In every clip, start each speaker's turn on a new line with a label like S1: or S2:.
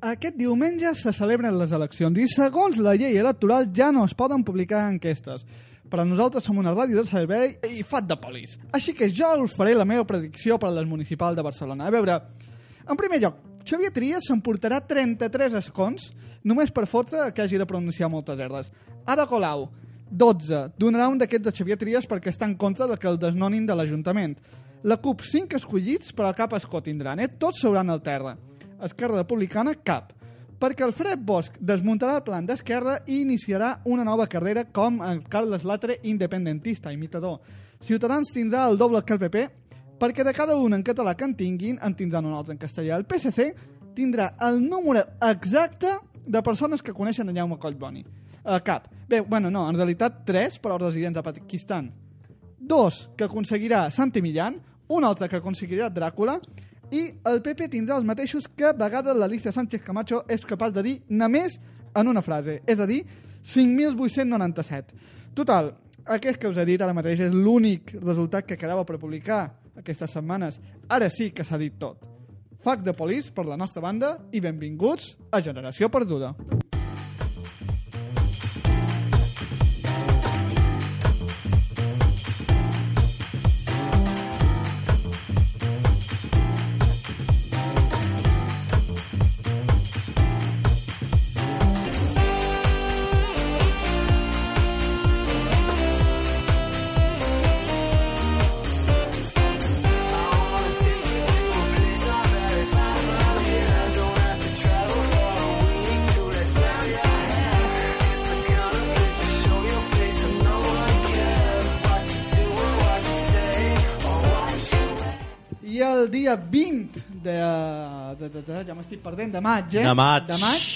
S1: Aquest diumenge se celebren les eleccions i segons la llei electoral ja no es poden publicar enquestes. Però nosaltres som una ràdio de servei i fat de polis. Així que jo us faré la meva predicció per a les municipals de Barcelona. A veure, en primer lloc, Xavier Trias s'emportarà 33 escons només per força que hagi de pronunciar moltes erdes. Ada Colau, 12. Donarà un d'aquests de Xavier Trias perquè està en contra de que el desnonin de l'Ajuntament. La CUP, 5 escollits, però cap escó tindran, eh? Tots seuran al terra. Esquerra Republicana, cap. Perquè Alfred Bosch desmuntarà el plan d'Esquerra i iniciarà una nova carrera com el Carles Latre independentista, imitador. Ciutadans tindrà el doble que el PP, perquè de cada un en català que en tinguin, en tindran un altre en castellà. El PSC tindrà el número exacte de persones que coneixen en Jaume Collboni. Eh, cap. Bé, bueno, no, en realitat tres per als residents de Pakistan. Dos que aconseguirà Santi Millán, un altre que aconseguirà Dràcula, i el PP tindrà els mateixos que a vegades l'Alicia Sánchez Camacho és capaç de dir només en una frase, és a dir, 5.897. Total, aquest que us he dit ara mateix és l'únic resultat que quedava per publicar aquestes setmanes. Ara sí que s'ha dit tot. Fac de polis per la nostra banda i benvinguts a Generació Perduda. I el dia 20 de... de, de, de ja m'estic perdent, de maig, eh?
S2: De maig.
S1: De maig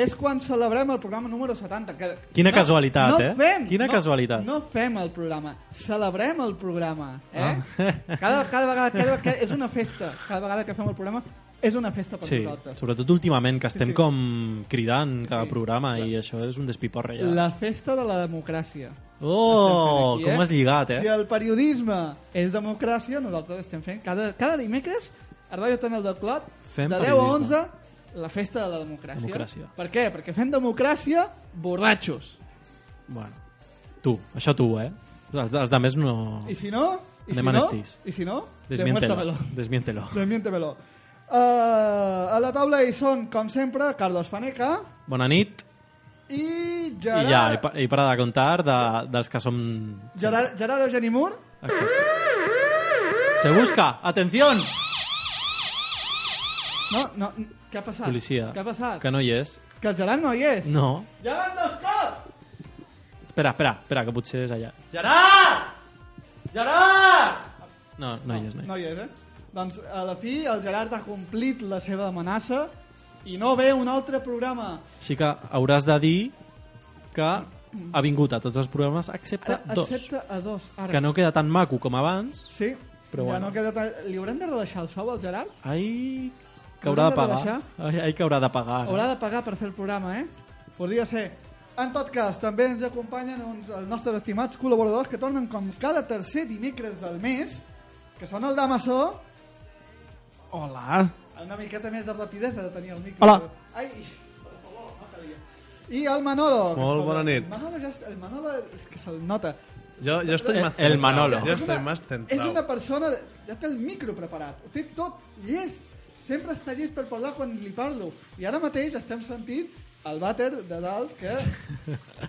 S1: és quan celebrem el programa número 70. Que,
S2: Quina casualitat,
S1: no
S2: eh?
S1: Fem,
S2: Quina
S1: no,
S2: casualitat.
S1: No fem el programa, celebrem el programa. Eh?
S2: Ah.
S1: Cada, cada vegada, cada vegada que és una festa. Cada vegada que fem el programa és una festa per
S2: Sí,
S1: nosaltres.
S2: sobretot últimament, que estem
S1: Sí, sí.
S2: com cridant cada
S1: Sí.
S2: programa i això és un despiporre ja.
S1: La festa de la democràcia. Estem fent
S2: Oh,
S1: aquí,
S2: com has lligat,
S1: Si
S2: eh?
S1: el periodisme és democràcia, nosaltres estem fent cada, cada dimecres a Ràdio Tanel del Clot,
S2: Fem
S1: de 10 a
S2: periodisme.
S1: 11, la festa de la democràcia.
S2: Democràcia.
S1: Per què? Perquè fem democràcia borratxos.
S2: Bueno, tu, això tu, eh? Els, els de més no...
S1: I si no... I si
S2: Oh. Anem a
S1: no,
S2: Nestís. Oh.
S1: I si no...
S2: Desmiéntelo.
S1: demuérdamelo.
S2: Desmiéntelo.
S1: Desmiéntemelo. Uh, a la taula hi són, com sempre, Carlos Faneca
S2: Bona nit.
S1: i
S2: I
S1: Gerard...
S2: ja, he, pa- he parat de comptar de, dels que som...
S1: Gerard, Gerard Eugeni Mur.
S2: Exacte. Se busca! Atenció!
S1: No, no, què ha passat?
S2: Policia.
S1: Què ha passat?
S2: Que Mm. no hi és.
S1: Que el Gerard no hi és.
S2: No.
S1: Gerard no és cap!
S2: Espera, espera, espera, que potser és allà.
S1: Gerard! Gerard!
S2: No, no hi és, no hi és.
S1: No hi és, eh? Doncs a la fi el Gerard ha complit la seva amenaça i no ve un altre programa.
S2: Així que hauràs de dir que ha vingut a tots els programes excepte
S1: Ara,
S2: Eh, dos.
S1: eh, excepte a dos. Ara.
S2: Que no queda tan maco com abans.
S1: Sí, però
S2: Però
S1: ja
S2: bueno.
S1: no queda... tan- Li haurem de rebaixar el sou al Gerard?
S2: Ai, que
S1: Haurem
S2: haurà
S1: de
S2: de pagar.
S1: rebaixar?
S2: Ai, ai que haurà de pagar.
S1: Haurà de pagar per fer el programa, eh? Podria ser. En tot cas, també ens acompanyen uns, els nostres estimats col·laboradors que tornen com cada tercer dimecres del mes, que són el Damassó,
S3: Hola.
S1: una miqueta més de rapidesa de tenir el micro.
S3: Hola.
S1: Ai, per favor, no calia. I el Manolo. que
S4: Molt
S1: es-
S4: bona nit.
S1: Manolo ja, es- el Manolo és que se'l nota.
S4: Yo, yo estoy
S2: El-
S4: más
S2: el
S4: centrado,
S2: Manolo.
S4: Yo
S1: És
S4: estoy
S1: una-
S4: más
S1: És
S4: centrado.
S1: una persona... Ja té el micro preparat. Ho té tot llest. Sempre està llest per parlar quan li parlo. I ara mateix estem sentint el vàter de dalt que...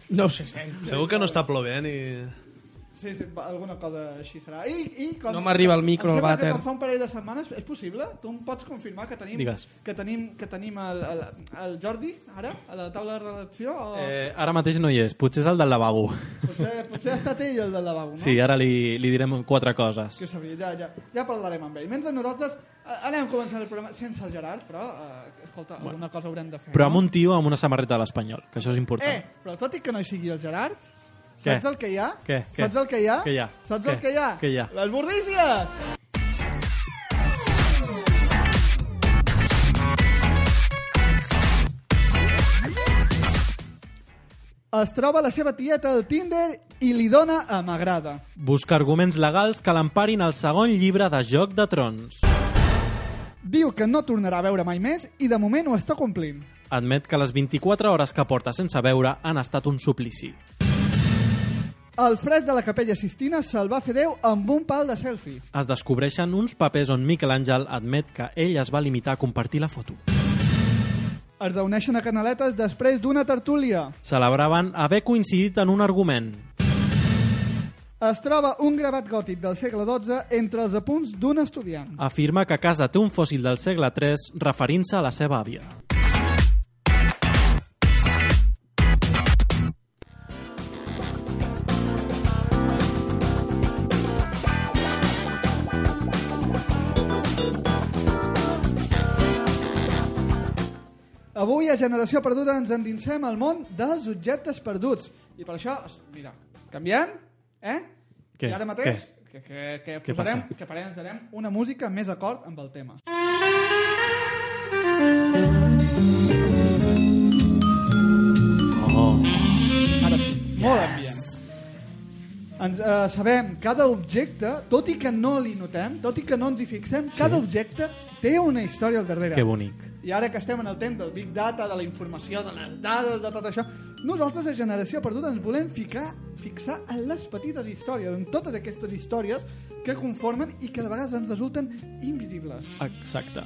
S3: No se sent.
S4: Segur que no està plovent i...
S1: Sí, sí, va- alguna cosa així serà. I, i com...
S5: No m'arriba el micro,
S1: em
S5: el
S1: sembla que
S5: vàter.
S1: com fa un parell de setmanes, és possible? Tu em pots confirmar que tenim,
S2: Digues.
S1: que tenim, que tenim el, el, el Jordi, ara, a la taula de redacció? O... Eh...
S2: Eh, ara mateix no hi és, potser és el del lavabo.
S1: Potser, potser ha estat ell el del lavabo, no?
S2: Sí, ara li, li direm quatre coses.
S1: Que ho sabia, ja, ja, ja parlarem amb ell. Mentre nosaltres eh, anem començant el programa sense el Gerard, però, eh, escolta, bueno. alguna cosa haurem de fer.
S2: Però amb
S1: no?
S2: un tio amb una samarreta de l'Espanyol, que això és important.
S1: Eh, però tot i que no hi sigui el Gerard,
S2: Què?
S1: saps el que hi ha?
S2: Què? Què?
S1: Saps el que hi ha?
S2: Què hi ha?
S1: Saps
S2: Què?
S1: el que hi ha?
S2: Què hi ha?
S1: Les bordícies! Es troba la seva tieta al Tinder i li dona a m'agrada.
S2: Busca arguments legals que l'emparin al segon llibre de Joc de Trons.
S1: Diu que no tornarà a veure mai més i de moment ho està complint.
S2: Admet que les 24 hores que porta sense veure han estat un suplici.
S1: El fred de la capella Sistina se'l va fer Déu amb un pal de selfie.
S2: Es descobreixen uns papers on Miquel Àngel admet que ell es va limitar a compartir la foto.
S1: Es reuneixen a Canaletes després d'una tertúlia.
S2: Celebraven haver coincidit en un argument.
S1: Es troba un gravat gòtic del segle XII entre els apunts d'un estudiant.
S2: Afirma que a casa té un fòssil del segle III referint-se a la seva àvia.
S1: Avui a Generació Perduda ens endinsem al món dels objectes perduts. I per això, es- mira, canviem, eh?
S2: Què?
S1: I ara mateix que, que, que,
S2: Què
S1: posarem,
S2: passa?
S1: que posarem una música més acord amb el tema.
S2: Oh.
S1: Ara sí, molt ambient. Ens, eh, sabem, cada objecte, tot i que no li notem, tot i que no ens hi fixem, sí. cada objecte té una història al darrere.
S2: Que bonic.
S1: I ara que estem en el temps del Big Data, de la informació, de les dades, de tot això, nosaltres a Generació Perduda ens volem ficar, fixar en les petites històries, en totes aquestes històries que conformen i que de vegades ens resulten invisibles.
S2: Exacte.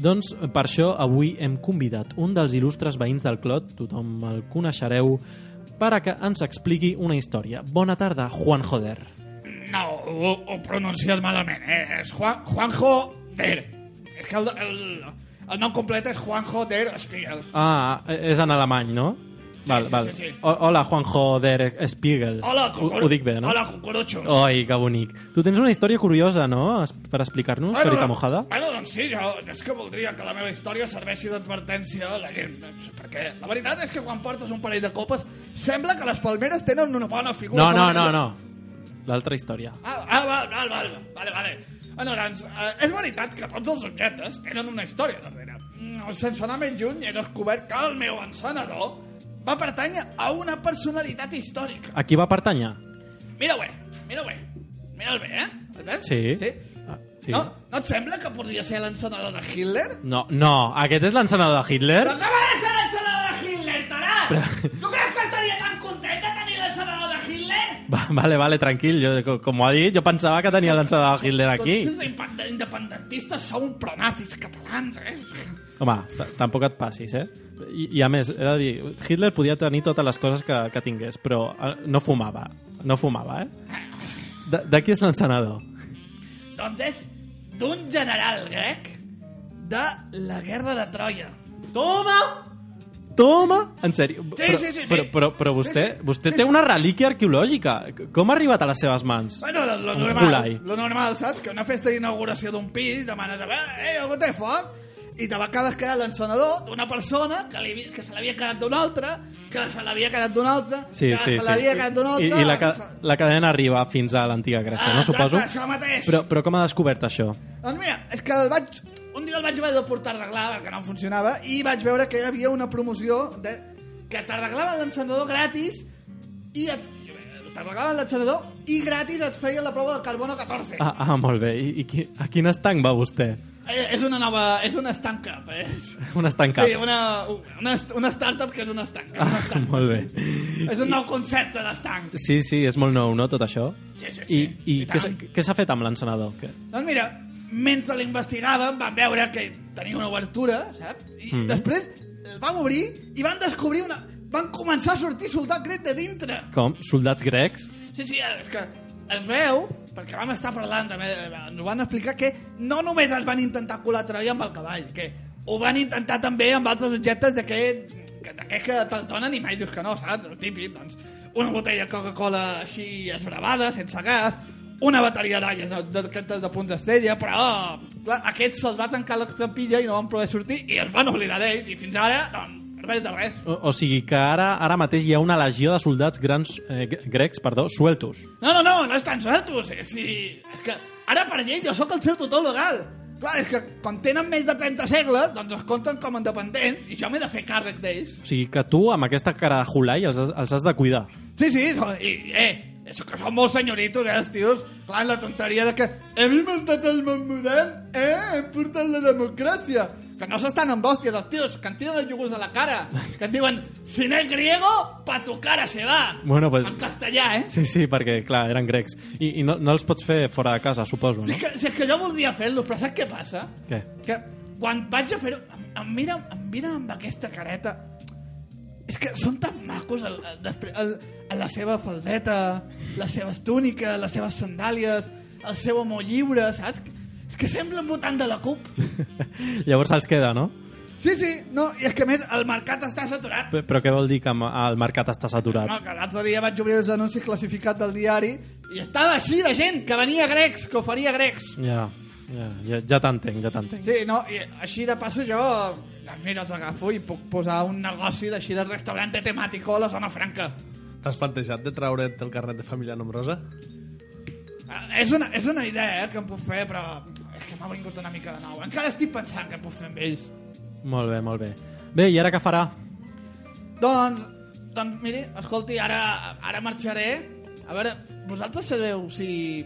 S2: Doncs per això avui hem convidat un dels il·lustres veïns del Clot, tothom el coneixereu, per a que ens expliqui una història. Bona tarda, Juan Joder.
S6: No, ho, ho pronuncies malament. Eh? És Juan, Juanjo Der. És que el, el, el nom complet és Juanjo Der Spiegel.
S2: Ah, és en alemany, no?
S6: sí, sí, sí.
S2: O- Hola, Juan Joder Spiegel.
S6: Hola,
S2: ho,
S6: cucur...
S2: ho dic bé, no? Oh,
S6: Hola, cucuruchos.
S2: Oi, que bonic. Tu tens una història curiosa, no?, Es- per explicar-nos, bueno, Carica Mojada?
S6: Bueno, doncs sí, jo és que voldria que la meva història serveixi d'advertència a la gent, doncs, perquè la veritat és que quan portes un parell de copes sembla que les palmeres tenen una bona figura.
S2: No, no,
S6: Com-
S2: no, no. L'altra història.
S6: Ah, ah, val, val, val, vale, vale. Ah, no, doncs, eh, és veritat que tots els objectes tenen una història darrere. Mm, Sense anar més lluny, he descobert que el meu encenedor va pertànyer a una personalitat històrica.
S2: A qui va pertànyer?
S6: Mira-ho bé, mira-ho bé. Mira'l bé, eh? El veus?
S2: Sí.
S6: sí?
S2: Ah, sí.
S6: Sí. No, no et sembla que podria ser l'encenedor de Hitler?
S2: no, no, aquest és l'encenador de Hitler?
S6: Però com ha de ser l'encenedor de Hitler, tarat? Tu creus que estaria tan content de tenir l'encenedor de Hitler?
S2: Va- Vale, vale, tranquil. Yo, co- como ha dit, jo pensava que tenia l'ençada de Hitler
S6: Tots
S2: aquí.
S6: els impa- independentistes són pronazis catalans, eh?
S2: Home, t- tampoc et passis, eh? I, I a més, he de dir, Hitler podia tenir totes les coses que, que tingués, però eh, no fumava. No fumava, eh? De, de qui és l'encenador?
S6: Doncs és d'un general grec de la guerra de Troia. Toma!
S2: Toma! En sèrio?
S6: Sí,
S2: però,
S6: sí, sí, sí.
S2: Però, però, però vostè,
S6: Sí, sí.
S2: vostè té una relíquia arqueològica. Com ha arribat a les seves mans?
S6: Bueno, lo, lo
S2: Un
S6: normal,
S2: fulai.
S6: lo normal, saps? Que una festa d'inauguració d'un pis demanes a veure,
S1: eh,
S6: ei, algú té foc? I te va quedar quedar l'encenedor d'una persona que, li, que se l'havia quedat d'un altre, que se l'havia quedat d'un altre,
S2: Sí,
S6: que
S2: sí,
S6: se
S2: sí.
S6: l'havia quedat d'un
S2: I,
S6: altre...
S2: i la,
S6: que
S2: ca
S6: se-
S2: la cadena arriba fins a l'antiga Grècia,
S6: Ah,
S2: no? Suposo.
S6: Exacte, això mateix.
S2: Però, però com ha descobert això?
S6: Doncs mira, és que el vaig... Un dia el vaig haver de portar a arreglar perquè no em funcionava i vaig veure que hi havia una promoció de... que t'arreglaven l'encenedor gratis i et... t'arreglaven l'encenedor i gratis et feien la prova del carbono 14.
S2: Ah, ah molt bé. I, i qui, a quin estanc va vostè?
S6: Eh, és una nova... és una stand-up. És...
S2: Un estancat.
S6: Sí, una, una, una startup que és una stand-up.
S2: Ah,
S6: Una stand
S2: molt bé.
S6: És un nou concepte d'estanc.
S2: Sí, sí, és molt nou, no, tot això?
S6: Sí,
S2: I,
S6: sí, sí.
S2: i,
S6: I
S2: què
S6: tant.
S2: s'ha- què s'ha fet amb l'encenador? Que...
S6: Doncs mira, mentre l'investigaven van veure que tenia una obertura, saps? I
S2: Mhm.
S6: mm. després el van obrir i van descobrir una... Van començar a sortir soldat grec de dintre.
S2: Com? Soldats grecs?
S6: Sí, sí, és que es veu, perquè vam estar parlant també, eh, ens ho van explicar, que no només es van intentar colar Troia amb el cavall, que ho van intentar també amb altres objectes d'aquests d'aquests que te'ls donen i mai dius que no, saps? El típic, doncs, una botella de Coca-Cola així esbravada, sense gas, una bateria d'alles de, de, de, de punts d'estella, però clar, aquests se'ls va tancar la capilla i no van poder sortir i es van oblidar d'ells i fins ara, doncs, res de res.
S2: O, o sigui que ara ara mateix hi ha una legió de soldats grans eh, grecs, perdó, sueltos.
S6: No, no, no, no és tan suelto. Sí, sí. És que ara per llei jo sóc el seu tutor legal. Clar, és que quan tenen més de 30 segles, doncs es compten com a independents i jo m'he de fer càrrec d'ells.
S2: O sigui que tu, amb aquesta cara de Hulai, els, has- els has de cuidar.
S6: Sí, sí, so- i, eh, això que són molt senyoritos, eh, els tios. Clar, la tonteria de que hem inventat el món modern, eh, hem portat la democràcia. Que no s'estan amb hòsties, els tios, que en tiren els iogurts a la cara. Que et diuen, si no és griego, pa tu cara se va.
S2: Bueno, pues-
S6: En castellà, eh?
S2: Sí, sí, perquè, clar, eren grecs. I, i no, no els pots fer fora de casa, suposo,
S6: Si
S2: no?
S6: és que, si és que jo voldria fer-lo, però saps què passa?
S2: Què?
S6: que quan vaig a fer-ho em, em, mira, em mira amb aquesta careta és que són tan macos el, el, despre- el, el, la seva faldeta les seves túniques, les seves sandàlies el seu amor lliure saps? és que semblen votant de la CUP
S2: Llavors els queda, no?
S6: sí, sí, no, i és que a més el mercat està saturat
S2: Pe- Però què vol dir que am- el mercat està
S6: no,
S2: saturat?
S6: que l'altre dia vaig obrir els anuncis classificats del diari i estava així de gent que venia grecs, que oferia grecs
S2: Ja, ja, ja, ja t'entenc, ja t'entenc.
S6: Sí, no, i així de passo jo doncs mira, els agafo i puc posar un negoci d'així de restaurante temàtico a la zona franca.
S7: T'has plantejat de treure't el carnet de família nombrosa?
S6: Ah, És una, és una idea eh, que em puc fer, però és que m'ha vingut una mica de nou. Encara estic pensant que puc fer amb ells.
S2: Molt bé, molt bé. Bé, i ara què farà?
S6: Doncs, doncs miri, escolti, ara, ara marxaré. A veure, vosaltres sabeu si...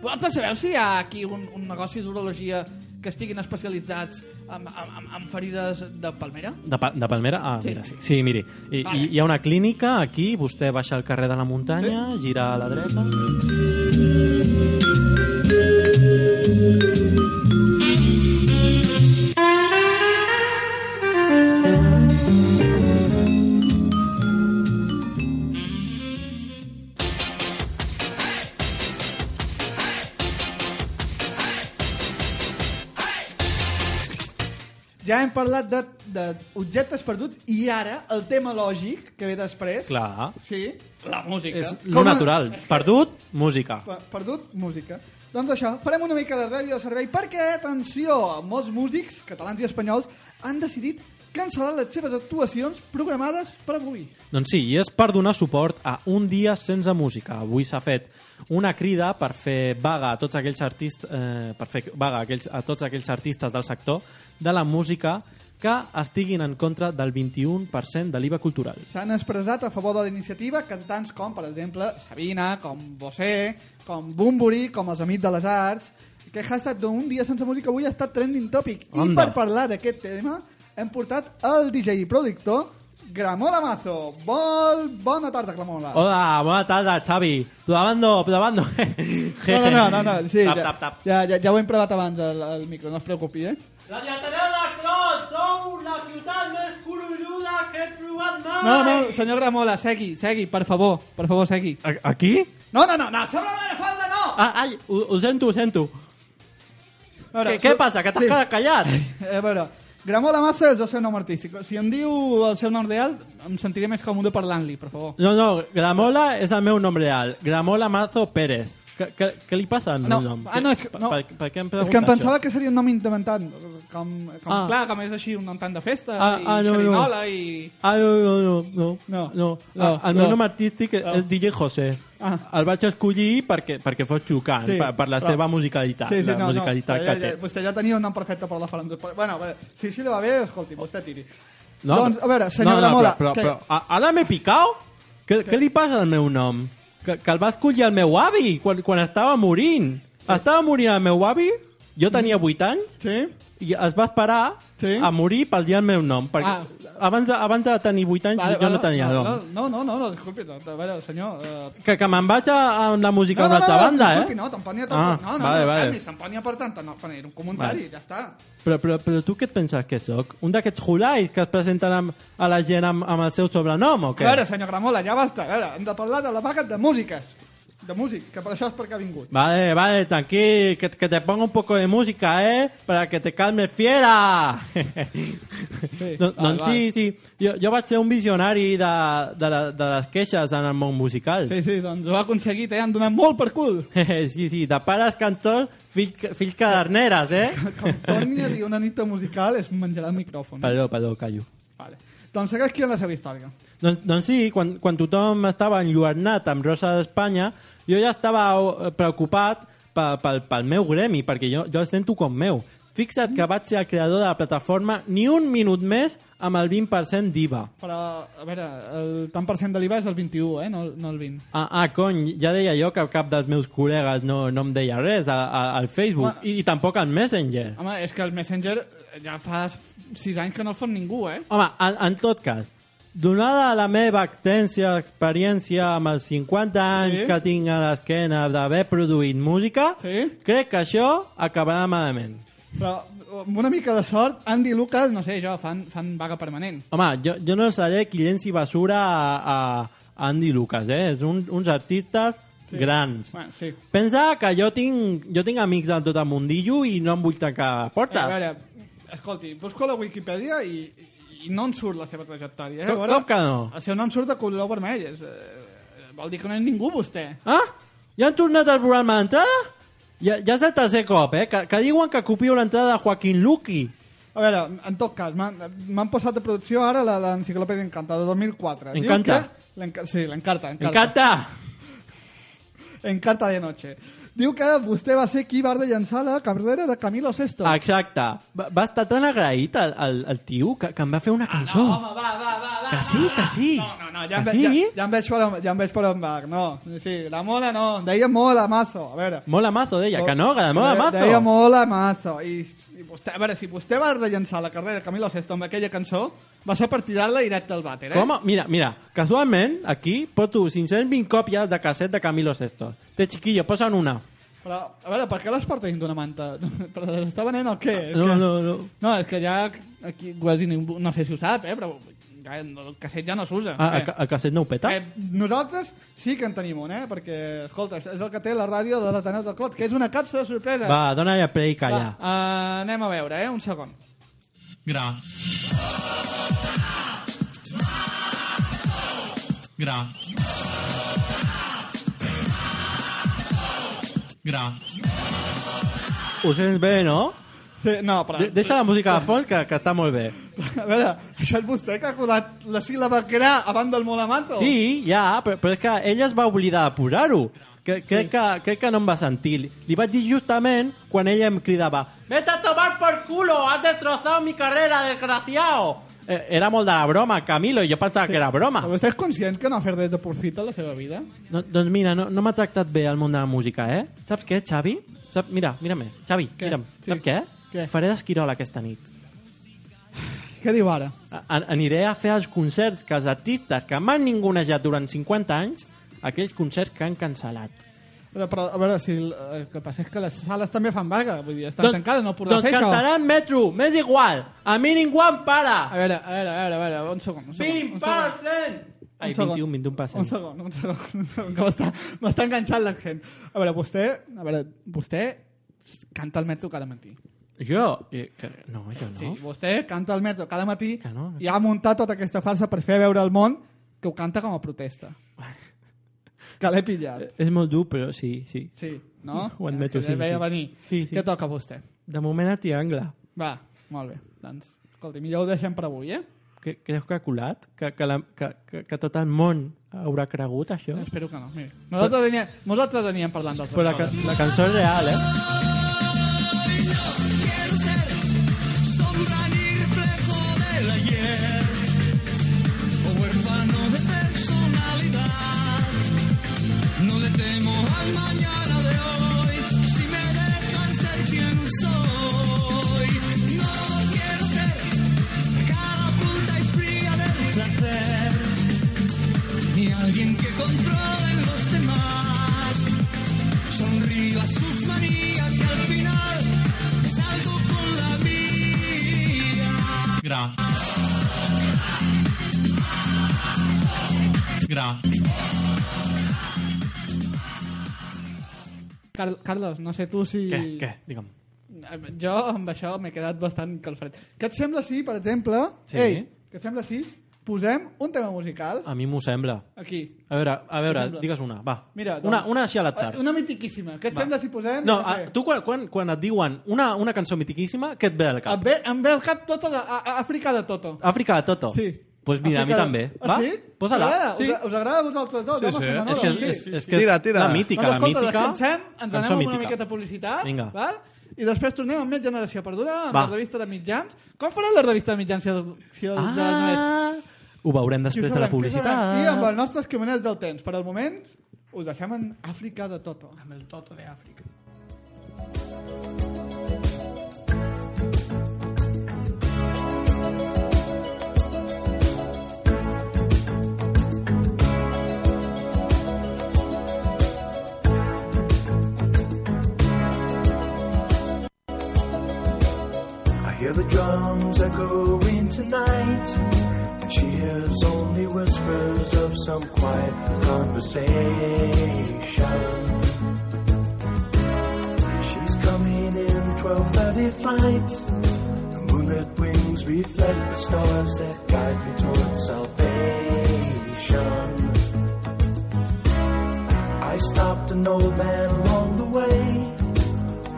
S6: Vosaltres sabeu si hi ha aquí un, un negoci d'urologia que estiguin especialitzats en, en, en- en ferides de palmera?
S2: De, pa de Palmera? Ah,
S6: Sí.
S2: sí. mira, sí. Sí, miri, I,
S6: Vale.
S2: i, hi ha una clínica aquí, vostè baixa al carrer de la muntanya, gira a la dreta...
S6: Ja hem parlat d'objectes perduts i ara el tema lògic que ve després.
S2: Clar,
S6: Sí, la música.
S2: és
S6: Com
S2: lo
S6: a-
S2: natural. Perdut, música.
S6: Per- Perdut, música. Doncs això, farem una mica de ràdio de servei perquè, atenció, molts músics, catalans i espanyols, han decidit cancel·lar les seves actuacions programades per avui.
S2: Doncs sí, i és per donar suport a un dia sense música. Avui s'ha fet una crida per fer vaga a tots aquells artistes eh, per fer vaga a, aquells, a tots aquells artistes del sector de la música que estiguin en contra del 21% de l'IVA cultural.
S6: S'han expressat a favor de la iniciativa cantants com, per exemple, Sabina, com Bosé, com Bumburi, com els Amics de les Arts. Aquest hashtag d'un dia sense música avui ha estat trending topic. I
S2: Onda.
S6: per parlar d'aquest tema hem portat el DJ i productor Gramola Mazo. Vol... Bona tarda, Gramola.
S2: Hola, bona tarda, Xavi. Plavando, plavando.
S6: No, no, no, no, no. Sí,
S2: tap,
S6: ja,
S2: tap, tap.
S6: Ja, ja, ja ho hem provat abans el, el micro, no es preocupi, eh? No, no, senyor Gramola, segui, segui, per favor, per favor, segui.
S2: A- Aquí?
S6: No, no, no, no, sobre la meva falda no!
S2: Ah, ai, ho, ho sento, ho sento.
S6: A veure,
S2: Què, què
S6: so- Eh,
S2: passa, que t'has quedat callat?
S6: A veure, Gramola Massa és el seu nom artístic. Si em diu el seu nom real, em sentiré més còmode parlant-li, per favor.
S2: No, no, Gramola és el meu nom real. Gramola Mazo Pérez. Què- Què què li passa al meu
S6: No,
S2: nom?
S6: ah, no, és que-
S2: Per-
S6: no.
S2: Per, per què em
S6: És que em
S2: pregunta
S6: pensava
S2: això?
S6: que seria un nom inventat, com, com
S2: Ah.
S6: clar, com és així, un nom tant de festa,
S2: Ah,
S6: i
S2: ah, no, no.
S6: xerinola, i...
S2: Ah, no, no, no, no,
S6: No,
S2: no, no.
S6: no,
S2: Ah, el
S6: no.
S2: meu nom artístic és DJ José.
S6: Ah.
S2: El vaig escollir perquè, perquè fos xocant,
S6: Sí,
S2: per, per la
S6: però-
S2: seva musicalitat, la musicalitat
S6: ja,
S2: que té.
S6: ja, vostè ja tenia un nom perfecte per la farandola. Però, Bueno, bé, si així li va bé, escolti, vostè tiri.
S2: No,
S6: doncs, a veure,
S2: no,
S6: senyor
S2: no,
S6: Gramola...
S2: Però,
S6: que-
S2: però, però, a- ara m'he picao? Què, què li passa al meu nom? Que, que el va escollir el meu avi quan, quan estava morint. Estava morint el meu avi,
S1: Mm.
S2: jo tenia 8 anys,
S6: Sí?
S2: i es va esperar
S6: Sí.
S2: a morir pel dia del meu nom. Perquè,
S6: Ah.
S2: ah. abans de, abans de tenir 8 anys
S1: Vale,
S2: jo
S1: vale,
S2: no tenia
S1: no,
S2: nom.
S1: No, no, no, no, disculpi, no, vaja, senyor... Eh,
S2: Que, que me'n vaig a, a la música
S1: no,
S2: d'una altra banda,
S1: disculpi,
S2: eh?
S1: No, tampoc n'hi ha
S2: Ah,
S1: tant. no, no,
S2: vale,
S1: no,
S2: vale.
S1: calmi, tampoc n'hi ha per tant. No, bueno, era un comentari, ja està.
S2: Però, però, però tu què et penses que sóc? Un d'aquests hulais que es presenten amb, a la gent amb, amb el seu sobrenom o què?
S1: A veure, senyor Gramola, ja basta. A veure, hem de parlar de la vaga de músiques. De músic, que per això és perquè ha vingut.
S2: Vale, vale, tranquil, que, que te ponga un poco de música, ¿eh? Para que te calmes, fiera!
S1: vale,
S2: no, doncs
S1: vale.
S2: sí, sí. Jo, jo vaig ser un visionari de, de, la, de les queixes en el món musical.
S1: Sí, sí, doncs ho ha aconseguit, eh? Han donat molt per cul.
S2: sí, sí, de pares cantors, fills, fills caderneres, eh?
S1: Com torni a dir una nit musical es menjarà el micròfon.
S2: Perdó, perdó, callo.
S1: Vale. Doncs segueix aquí en la seva història.
S2: Doncs, doncs sí, quan, quan tothom estava enlluernat amb Rosa d'Espanya, jo ja estava eh, preocupat pel, pel, pel meu gremi, perquè jo, jo el sento com meu. Fixa't que vaig ser el creador de la plataforma ni un minut més amb el 20% d'IVA.
S1: Però, a veure, el tant per cent de l'IVA és el 21, eh? No, no el 20.
S2: Ah, ah, cony, ja deia jo que cap dels meus col·legues no, no em deia res a, a, al Facebook
S1: Home.
S2: i, i tampoc al Messenger.
S1: Home, és que el Messenger ja fa 6 anys que no el fa ningú, eh?
S2: Home, en, en tot cas, donada la meva extensa experiència amb els 50 anys
S1: Sí.
S2: que tinc a l'esquena d'haver produït música,
S1: Sí.
S2: crec que això acabarà malament.
S1: Però amb una mica de sort, Andy i Lucas, no sé, jo, fan, fan vaga permanent.
S2: Home, jo, jo no seré qui llenci basura a, a Andy Lucas, eh? És un, uns artistes sí. grans.
S1: Bueno, sí. Eh,
S2: Pensa que jo tinc, jo tinc amics de tot el mundillo i no em vull tancar
S1: Eh, a
S2: portes.
S1: veure, escolti, busco la Wikipedia i, i no en surt la seva trajectòria. Eh? A
S2: Com-
S1: veure,
S2: com que no?
S1: El seu nom surt de color vermell. És, eh, vol dir que no és ningú, vostè.
S2: Ah? Ja han tornat al programa d'entrada? Ja, ja és el tercer cop, eh? Que, que diuen que copio l'entrada de Joaquín Luqui.
S1: A veure, en tot cas, m'han- m'han posat de producció ara la- l'enciclopèdia Encanta, de 2004. Diu
S2: Encanta?
S1: que- l'enca- Sí, l'Encarta. Encarta.
S2: Encanta!
S1: Encarta de noche. Diu que vostè va ser qui va rellençar la carrera de Camilo Sesto.
S2: Exacte. Va, va estar tan agraït al, al, al tio que, que em va fer una cançó.
S1: Ah, Home, va, va, va, va.
S2: que sí, que sí.
S1: No, no, no, ja em,
S2: que
S1: ve,
S2: sí.
S1: ja, ja em veig per on, ja em veig per on va. No, sí, la mola no. Deia mola, mazo. A veure.
S2: Mola mazo, deia. Que no, que mola
S1: Deia-
S2: mazo.
S1: Deia mola, mazo. I, i vostè, a veure, si vostè va rellençar la carrera de Camilo Sesto amb aquella cançó, va ser per tirar-la directe al vàter, eh?
S2: Com? Mira, mira, casualment, aquí porto 520 còpies de casset de Camilo Sesto. Té chiquillo, posa'n una.
S1: Però, a veure, per què les portes d'una manta? Però les està venent o què? És
S2: No,
S1: que...
S2: no, no.
S1: Ah, No, és que ja aquí quasi ningú, no sé si ho sap, eh, però ja, el casset ja no s'usa.
S2: Ah, el,
S1: eh.
S2: ca- el casset no ho peta?
S1: Eh, nosaltres sí que en tenim un, eh? Perquè, escolta, és el que té la ràdio de l'Ateneu del Clot, que és una capsa de sorpresa.
S2: Va, dona-li a play i calla.
S1: Va, eh, anem a veure, eh? Un segon.
S8: Gra. Gra. Gra.
S2: Ho sents bé, no?
S1: Sí, no, però...
S2: De deixa la música de fons, que, que està molt bé.
S1: A veure, això és vostè que ha colat la síl·laba gra abans del molamazo?
S2: Sí, ja, però, però és que ella es va oblidar de posar-ho. Cre crec, que, crec que no em va sentir. Li vaig dir justament quan ella em cridava «Vete a tomar por culo! Has destrozado mi carrera, desgraciado!» eh, Era molt de la broma, Camilo, i jo pensava que era broma.
S1: Però vostè és conscient que no ha fet res de profit a la seva vida?
S2: No, doncs mira, no, no m'ha tractat bé el món de la música, eh? Saps què, Xavi? Sap, mira, mira-me. Xavi,
S1: Què?
S2: mira'm.
S1: Sí.
S2: Saps què?
S1: Què?
S2: Faré d'esquirol aquesta nit.
S1: Què diu ara?
S2: A- aniré a fer els concerts que els artistes que m'han ningunejat durant 50 anys, aquells concerts que han cancel·lat.
S1: Però, però, a veure, si el, el que passa és que les sales també fan vaga, vull dir, estan tancades, no podran
S2: doncs
S1: fer això.
S2: cantaran metro, m'és igual. A mi ningú em
S1: A
S2: para.
S1: veure, a veure, a veure, a veure, un segon, un segon. un
S2: 20
S1: segon.
S2: percent. Ai,
S1: Un segon.
S2: 21, 21
S1: Un
S2: percent.
S1: segon, un segon, un segon, que m'està- m'està enganxant l'accent. A veure, vostè, a veure, vostè canta el metro cada matí.
S2: Jo? eh, Que, no, jo no.
S1: Sí, vostè canta el metro cada matí
S2: Que no.
S1: i ha muntat tota aquesta farsa per fer veure al món que ho canta com a protesta. Que l'he pillat.
S2: És molt dur, però sí, sí.
S1: Sí, no?
S2: Ho admeto,
S1: Que ja
S2: sí,
S1: veia
S2: sí.
S1: venir.
S2: Sí, sí.
S1: Què toca a vostè?
S2: De moment a triangle.
S1: Va, molt bé. Doncs, escolti, millor ho deixem per avui, eh?
S2: Que, creus que ha colat? Que, que, la, que, que, que tot el món haurà cregut això?
S1: Espero que no. Mira, nosaltres, veníem, nosaltres veníem parlant dels
S2: Però la, ca- la cançó és real, eh?
S9: soy. No quiero ser cada punta y frío
S8: Gra. Gra.
S9: Car Carlos, no sé tu si...
S2: Què? Què? Digue'm.
S9: Jo amb això m'he quedat bastant calfred.
S1: Què et sembla si, per exemple...
S2: Sí.
S1: Ei, què et sembla si posem un tema musical
S2: A mi m'ho sembla.
S1: aquí?
S2: A veure, a veure,
S1: sembla?
S2: digues una, va.
S1: Mira, doncs,
S2: una, una així a l'atzar.
S1: Una mitiquíssima. Què et
S2: Va.
S1: sembla si posem...
S2: No,
S1: jo què
S2: a,
S1: sé,
S2: tu quan, quan, quan et diuen una, una cançó mitiquíssima, què et ve al
S1: Em
S2: cap?
S1: ve, em ve al cap tota la, a, a Àfrica de Toto.
S2: Àfrica de Toto.
S1: Sí.
S2: Pues Doncs mira,
S1: Àfrica
S2: a mi
S1: de-
S2: també.
S1: Ah,
S2: Va,
S1: sí? Ah,
S2: posa-la.
S1: Us agrada?
S2: Sí.
S1: Us, us agrada a vosaltres dos?
S3: Sí,
S1: home,
S3: sí.
S1: Semanol,
S2: És que,
S1: sí.
S2: és, és, és que és
S3: Tira, tira.
S2: la mítica,
S1: doncs,
S2: la
S1: escolta,
S2: mítica.
S1: descansem, ens anem
S2: cançó
S1: amb una
S2: mítica.
S1: miqueta a publicitat,
S2: Vinga.
S1: val? i després tornem amb Més Generació Perduda, amb
S2: Va.
S1: la revista de mitjans. Com farà la revista de mitjans si el, si el de no és?
S2: Ah, ho veurem
S1: Què
S2: després de
S1: sabrem,
S2: la
S1: què
S2: publicitat.
S1: sabrem? I amb els nostres criminals del temps. Per al moment, us deixem en Àfrica de Toto.
S9: Amb el Toto de Àfrica.
S10: I hear the drums echoing tonight, and she hears only whispers of some quiet conversation. She's coming in 12:30 flight. The moonlit wings reflect the stars that guide me towards salvation. I stopped an old man along the way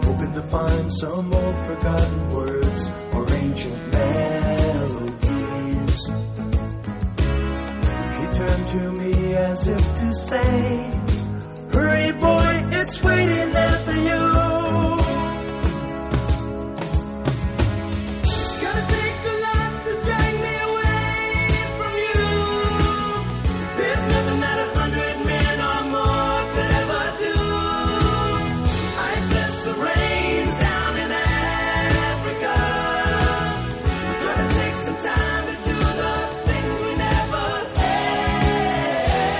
S10: hoping to find some old forgotten words or ancient melodies. He turned to me as if to say, Hurry, boy, it's waiting there for you. Gonna take a lot to drag me away from you. There's nothing that a hundred men or more could ever do. I bless the rains down in Africa. We're gonna take some time to do the things we never had.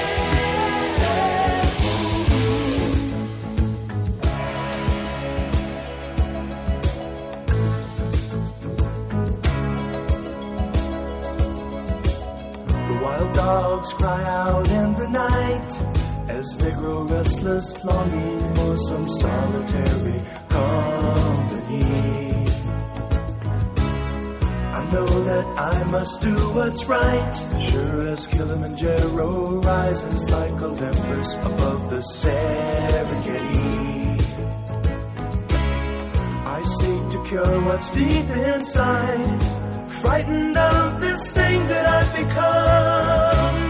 S10: The wild dogs cry out in the night as they grow restless, longing for some solitary company. I know that I must do what's right, sure as Kilimanjaro rises like Olympus above the Serengeti. I seek to cure what's deep inside, frightened of this thing that I've become.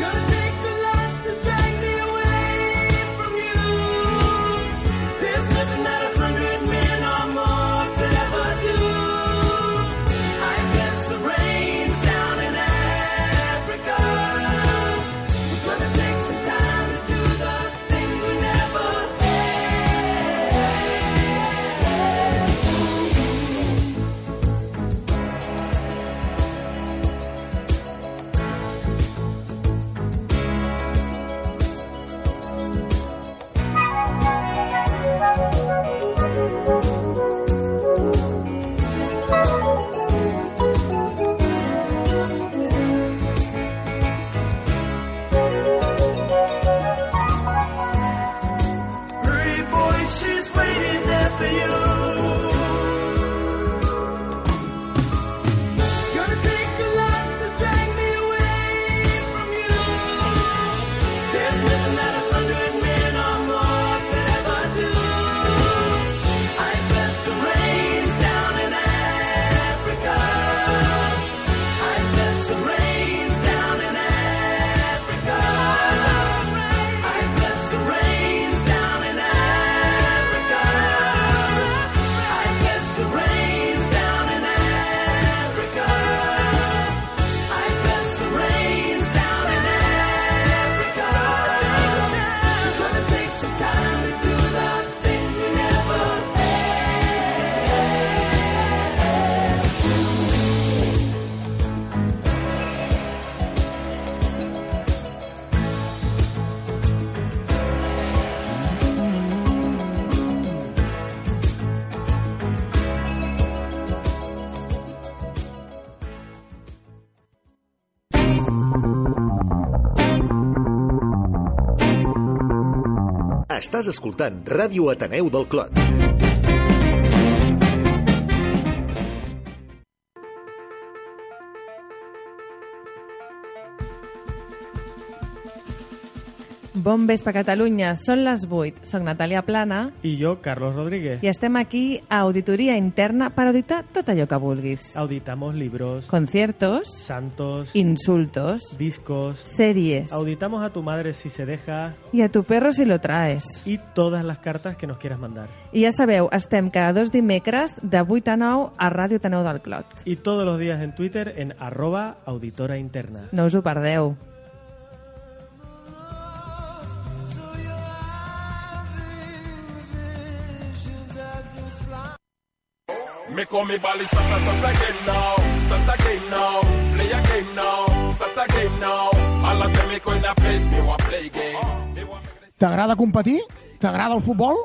S10: Gonna take a lot to drag me away from you. There's nothing that a hundred men or more could ever do. I guess the rains down in Africa. We're gonna take some time to do the things we never had.
S11: Estàs escoltant Ràdio Ateneu del Clot.
S5: Bon vespre, Catalunya. Són les 8. Soc Natàlia Plana
S12: I jo, Carlos Rodríguez.
S5: i estem aquí a Auditoria Interna per auditar tot allò que vulguis.
S12: Auditamos libros,
S5: Conciertos,
S12: santos,
S5: insultos,
S12: discos.
S5: series
S12: Auditamos a tu madre si se deja
S5: i a tu perro si lo traes.
S12: y todas las cartas que nos quieras mandar.
S5: I ja sabeu, estem cada dos dimecres de 8 a 9 a Ràdio Taneu del Clot.
S12: Y todos los días en Twitter en arroba auditora interna.
S5: No us ho perdeu.
S13: Me call me Bali, start, a- start the game now, start the game now, play a game now, start the game now. All of them me in a place, they want play game. They want
S14: T'agrada competir? T'agrada el futbol?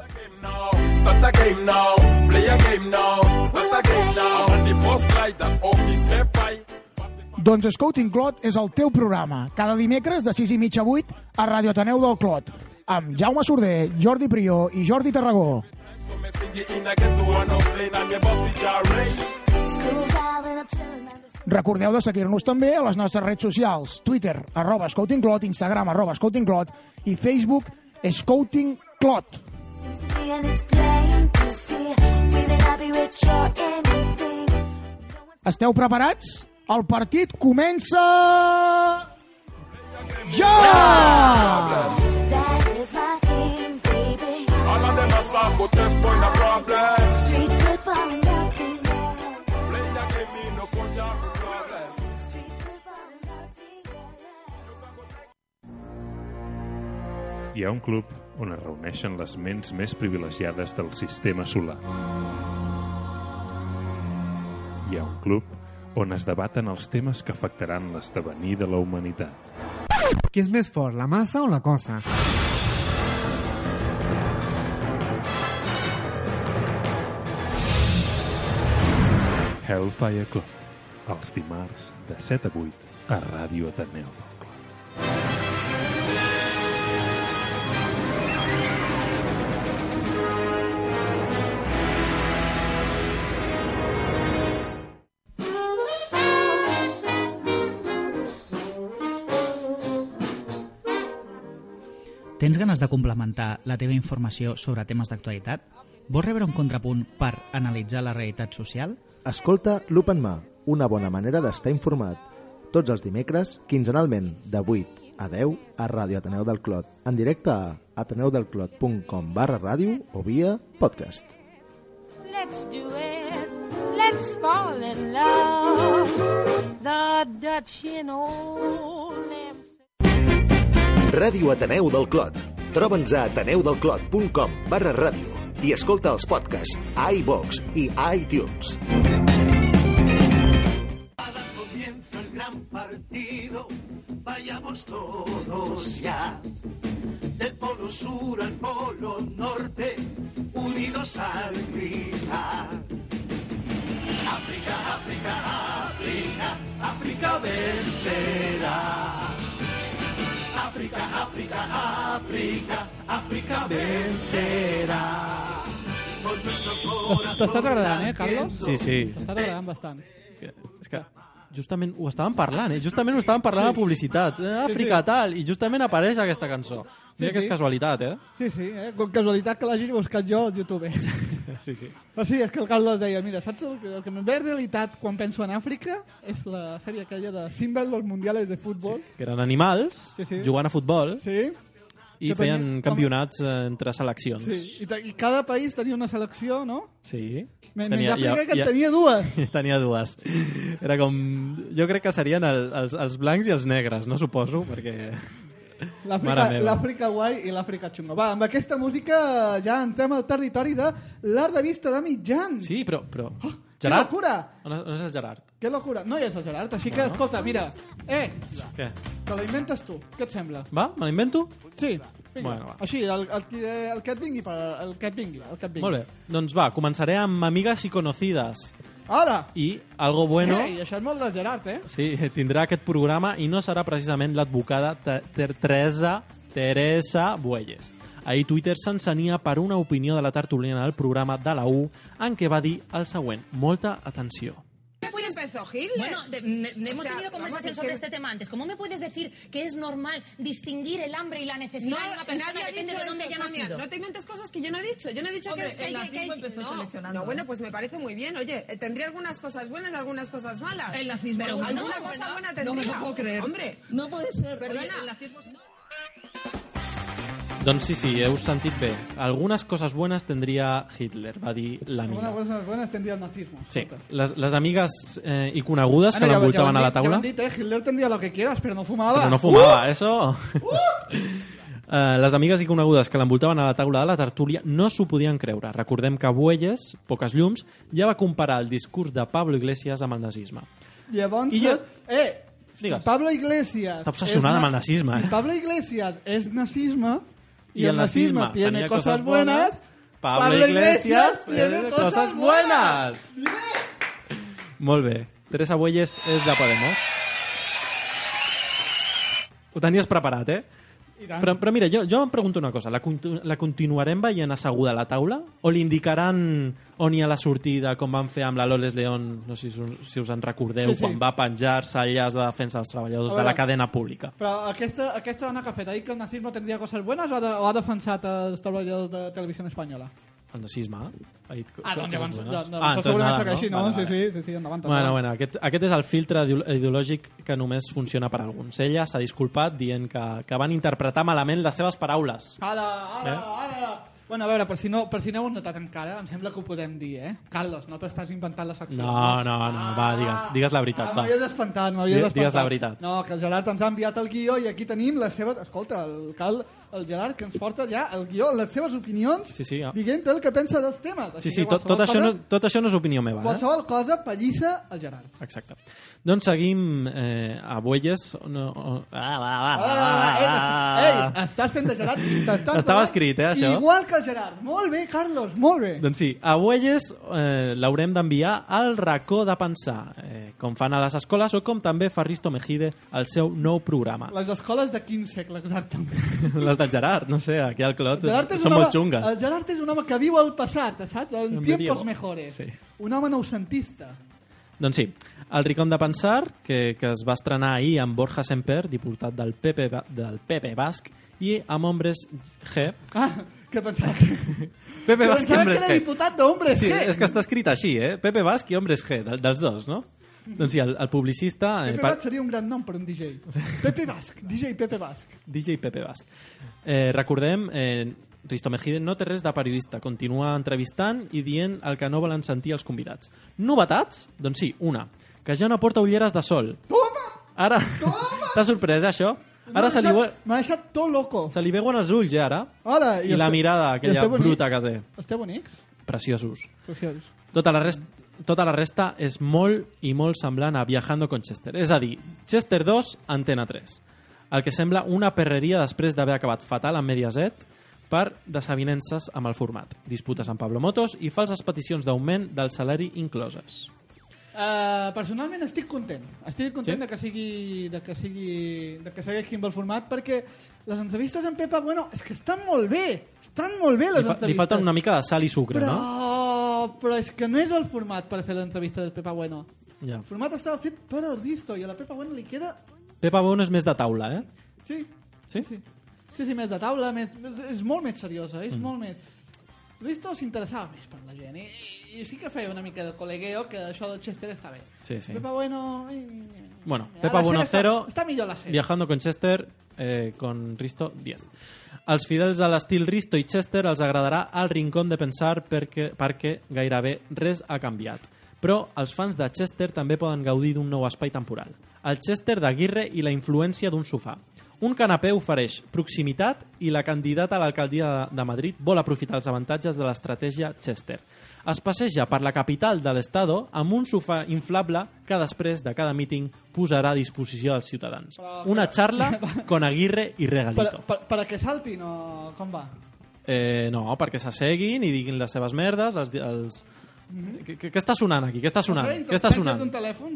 S13: start the game now, play a game now, start the game now. I'm on the first light that only set by.
S14: Doncs Scouting Clot és el teu programa. Cada dimecres de 6 i mitja a 8 a Radio Ateneu del Clot. Amb Jaume Sorder, Jordi Prió i Jordi Tarragó.
S13: So me sing it in a get to an plane, I'm your bossy jarring.
S14: Recordeu de seguir-nos també a les nostres redes socials. Twitter, arroba Scouting Clot, Instagram, arroba Scouting Clot i Facebook, Scouting Clot. Esteu preparats? El partit comença... Ja!
S13: All of them are soft, but this boy no problem. Play a game, me no coach, I have a problem.
S15: Hi ha un club on es reuneixen les ments més privilegiades del sistema solar. Hi ha un club on es debaten els temes que afectaran l'esdevenir de la humanitat.
S16: Qui és més fort, la massa o la cosa?
S15: Hellfire Club, els dimarts de 7 a 8 a Ràdio Ateneu.
S17: Tens ganes de complementar la teva informació sobre temes d'actualitat? Vols rebre un contrapunt per analitzar la realitat social?
S18: Escolta l'Open Ma, una bona manera d'estar informat. Tots els dimecres, quinzenalment, de 8 a 10 a Ràdio Ateneu del Clot, en directe a ateneudelclot.com barra ràdio o via podcast.
S19: Let's do it. Let's fall in love. The Dutch in old Amsterdam.
S11: Ràdio Ateneu del Clot. Troba'ns a ateneudelclot.com barra ràdio i escolta els podcasts a iVox i a iTunes.
S10: Comienza el gran partido, vayamos todos ya. Del polo sur al polo norte, unidos al gritar. África, África, África, África vencerá. África, África, África, África vencerá. Con nuestro corazón.
S9: T'estàs agradant, eh, Carlos?
S2: Sí, sí.
S9: T'estàs agradant bastant.
S2: És que justament ho estàvem parlant, eh? Justament ho estàvem parlant sí. a publicitat. Eh, Àfrica, sí, sí. tal, i justament apareix aquesta cançó. Mira
S1: Sí,
S2: que
S1: sí.
S2: és casualitat, eh?
S1: Sí, sí, eh? com casualitat que l'hagi buscat jo al YouTube.
S2: Sí, sí.
S1: Però sí, és que el Carlos deia, mira, saps el que, el que em ve en realitat quan penso en Àfrica? És la sèrie aquella de Simbel, los mundiales de futbol.
S2: Que eren animals
S1: Sí,
S2: sí,
S1: sí.
S2: sí. jugant a futbol
S1: sí.
S2: i
S1: Que
S2: que
S1: tenia- com-
S2: feien campionats eh, entre seleccions.
S1: Sí. I, te- I cada país tenia una selecció, no?
S2: Sí.
S1: Me- menys Àfrica, que en tenia dues.
S2: tenia dues. Era com... Jo crec que serien el, els, els blancs i els negres, no suposo, perquè...
S1: L'Àfrica
S2: Mare meva.
S1: l'Àfrica guai i l'Àfrica xunga. Va, amb aquesta música ja entrem al territori de l'art de vista de mitjans.
S2: Sí, però... però... Oh,
S1: Que
S2: Gerard?
S1: locura!
S2: On, on és el Gerard?
S1: Que locura! No hi és el Gerard, així que,
S2: No, no.
S1: escolta, mira, eh,
S2: Què?
S1: te la inventes tu. Què et sembla?
S2: Va? Me l'invento?
S1: Sí. Vinga.
S2: Bueno, va.
S1: Així, el, el, qui- eh, el que et vingui, per, el que et vingui, el que et vingui.
S2: Molt bé. Doncs va, començaré amb Amigues i Conocidas.
S1: Ara!
S2: I Algo Bueno...
S1: Ei, això és molt de Gerard, eh?
S2: Sí, tindrà aquest programa i no serà precisament l'advocada Te- Ter Teresa Teresa Buelles. Ahir Twitter s'encenia per una opinió de la tertuliana del programa de la U en què va dir el següent. Molta atenció.
S20: ¿Así empezó Hitler?
S21: Bueno, de- ne- ne-
S20: O
S21: hemos
S20: sea,
S21: tenido
S20: vamos,
S21: conversación
S20: es
S21: sobre
S20: que-
S21: este tema antes. ¿Cómo me puedes decir que es normal distinguir el hambre y la necesidad
S20: No,
S21: de una
S20: nadie
S21: persona?
S20: ha
S21: Depende
S20: dicho
S21: de dónde
S20: eso,
S21: haya
S20: Sonia.
S21: nacido.
S20: No te inventes cosas que yo no he dicho. Yo no he dicho
S21: Hombre,
S20: que, que,
S21: el
S20: que-
S21: nazismo
S20: que-
S21: empezó
S20: no,
S21: seleccionando.
S20: No, bueno, pues me parece muy bien. Oye, eh, tendría algunas cosas buenas y algunas cosas malas.
S21: El nazismo
S20: Pero
S21: era bueno,
S20: alguna
S21: ¿verdad?
S20: cosa buena
S21: No
S20: tendría.
S21: me lo puedo creer.
S20: Hombre,
S21: No puede ser.
S20: Perdona.
S21: Oye, el
S2: Doncs sí, sí, heu sentit bé. Algunes coses bones tindria Hitler, va dir l'amiga.
S1: Algunes coses bones tendria el nazismo.
S2: Sí, les, les amigues eh, i conegudes
S1: Bueno, Ah, ja-
S2: que
S1: ja ho
S2: l'envoltaven
S1: han
S2: a la
S1: dit- Ja ho
S2: taula...
S1: han dit, eh? Hitler tendría lo que quieras, pero no fumaba.
S2: Però no
S1: uh!
S2: fumava, eso... Eh, les amigues i conegudes que l'envoltaven a la taula de la tertúlia no s'ho podien creure. Recordem que Buelles, Poques Llums, ja va comparar el discurs de Pablo Iglesias amb el nazisme.
S1: I llavors...
S2: I
S1: I
S2: jo-
S1: Eh,
S2: Digues.
S1: si Pablo Iglesias...
S2: Està obsessionada
S1: és
S2: amb el nazisme,
S1: Si
S2: eh?
S1: Pablo Iglesias és nazisme i, el nazisme tiene
S2: tenia
S1: cosas buenas,
S2: Pablo, Iglesias tiene cosas buenas. Molt bé. Teresa Buelles és de Podemos. Ho tenies preparat, eh?
S1: I tant.
S2: Però, però mira, jo, jo em pregunto una cosa. La, contu- la continuarem veient asseguda a la taula? O li indicaran on hi ha la sortida, com van fer amb la Loles León, no sé si, us- si us en recordeu,
S1: Sí, sí.
S2: quan va penjar salles de defensa dels treballadors
S1: A
S2: de la
S1: veure.
S2: cadena pública.
S1: Però aquesta, aquesta dona que ha fet ahir que el nazisme tendria coses bones o ha, de, o ha defensat els treballadors de Televisió Espanyola?
S2: El nazisme ha dit
S1: Ah, doncs llavors- doncs-
S2: coses bones.
S1: doncs
S2: entonces
S1: segurament
S2: nada,
S1: serà així, no? Sí, sí, sí, sí, endavant,
S2: Bueno,
S1: endavant.
S2: bueno, aquest, aquest és el filtre ideol- ideològic que només funciona per a alguns. Ella s'ha disculpat dient que, que van interpretar malament les seves paraules.
S1: Ara, ara,
S2: Eh?
S1: ara! Bueno, a veure, per si, no, per si no ho heu notat encara, em sembla que ho podem dir, eh? Carlos, no t'estàs inventant la secció.
S2: No, no, no, va, digues, digues la veritat,
S1: Ah,
S2: va.
S1: m'havies espantat, m'havies
S2: Digues-
S1: espantat.
S2: digues la veritat.
S1: No, que el Gerard ens ha enviat el guió i aquí tenim les seves... Escolta, el, Cal, el Gerard que ens porta ja el guió, les seves opinions,
S2: Sí, sí, ah.
S1: dient el que pensa dels temes. Així
S2: Sí, sí,
S1: que
S2: tot, tot,
S1: qualsevol
S2: això no,
S1: cosa-
S2: tot això no és opinió meva. Eh?
S1: Qualsevol cosa, pallissa al Gerard.
S2: Exacte. Doncs seguim eh, a Buelles... No, o- ah, va, va, va,
S1: Ah, eh,
S2: va,
S1: t'està- ei, estàs fent de Gerard i t'estàs...
S2: Estava escrit, eh, això.
S1: Igual que el Gerard. Molt bé, Carlos, molt bé.
S2: Doncs sí, a Buelles eh, l'haurem d'enviar al racó de pensar, eh, com fan a les escoles o com també fa Risto Mejide al seu nou programa.
S1: Les escoles de quin segle, exactament?
S2: Les del Gerard, no sé, aquí al Clot
S1: Gerard és
S2: són
S1: un
S2: molt
S1: home-
S2: xungues.
S1: El Gerard és un home que viu al passat, saps? En
S2: Em
S1: tiempos
S2: diu-
S1: mejores.
S2: sí.
S1: Un home noucentista.
S2: Doncs sí, el Ricón de Pensar, que, que es va estrenar ahir amb Borja Semper, diputat del PP, ba- del PP Basc, i amb Hombres G.
S1: Ah, què pensava que...
S2: Pepe
S1: Però pensava
S2: Basc i
S1: que
S2: Hombres
S1: era
S2: G.
S1: diputat d'Hombres
S2: sí,
S1: G.
S2: és que està escrit així, eh? Pepe Basc i Hombres G, del, dels dos, no? Doncs sí, el, el publicista... eh,
S1: Pepe
S2: pa-
S1: Basc seria un gran nom per un DJ. Pepe Basc, DJ Pepe Basc.
S2: DJ Pepe Basc. Eh, recordem, eh, Risto Mejide no té res de periodista. Continua entrevistant i dient el que no volen sentir els convidats. Novetats? Doncs sí, una. Que ja no porta ulleres de sol. Toma! Ara... T'ha sorprès, això? Ara se li, veu-
S1: M'ha deixat tot loco.
S2: se li veuen els ulls, ja, ara.
S1: Ara,
S2: I, la
S1: este-
S2: mirada,
S1: i
S2: aquella
S1: esteu bonics?
S2: bruta que té.
S1: Esteu bonics?
S2: Preciosos.
S1: Preciosos.
S2: Tota la, rest, tota la resta és molt i molt semblant a Viajando con Chester. És a dir, Chester 2, Antena 3. El que sembla una perreria després d'haver acabat fatal amb Mediaset per desavinences amb el format, disputes amb Pablo Motos i falses peticions d'augment del salari incloses.
S1: Uh, personalment estic content. Estic content
S2: Sí?
S1: sí? de que sigui de que sigui de que segueixi amb el format perquè les entrevistes amb Pepa, bueno, és que estan molt bé. Estan molt bé
S2: Li,
S1: les
S2: fa,
S1: entrevistes.
S2: li falta una mica de sal i sucre,
S1: però,
S2: no?
S1: però és que no és el format per fer l'entrevista de Pepa Bueno.
S2: Ja.
S1: El format estava fet per el Risto i a la Pepa Bueno li queda...
S2: Pepa Bon és més de taula, eh?
S1: Sí,
S2: Sí? sí.
S1: sí, sí més de taula, més, és, és molt més seriosa, és mm. molt més... Risto s'interessava més per la gent i, i sí que feia una mica de col·legueo que això del Chester està bé.
S2: Sí, sí.
S1: Pepa Bueno... eh,
S2: Bueno,
S1: A
S2: Pepa
S1: la
S2: Bueno
S1: serie está-
S2: 0.
S1: está millor la serie.
S2: Viajando con Chester, eh, con Risto 10. Els fidels a l'estil Risto i Chester els agradarà el rincón de pensar perquè, perquè gairebé res ha canviat. Però els fans de Chester també poden gaudir d'un nou espai temporal. El Chester d'Aguirre i la influència d'un sofà. Un canapé ofereix proximitat i la candidata a l'alcaldia de- de Madrid vol aprofitar els avantatges de l'estratègia Chester. Es passeja per la capital de l'estado amb un sofà inflable que després de cada míting posarà a disposició dels ciutadans. Una charla con Aguirre i Regalito.
S1: Per, per, per a que saltin o com va?
S2: Eh, no, perquè s'asseguin i diguin les seves merdes, els... els...
S1: Mhm.
S2: Què, què- què està sonant aquí? Què està sonant?
S1: No sé,
S2: Què està sonant?
S1: d'un telèfon?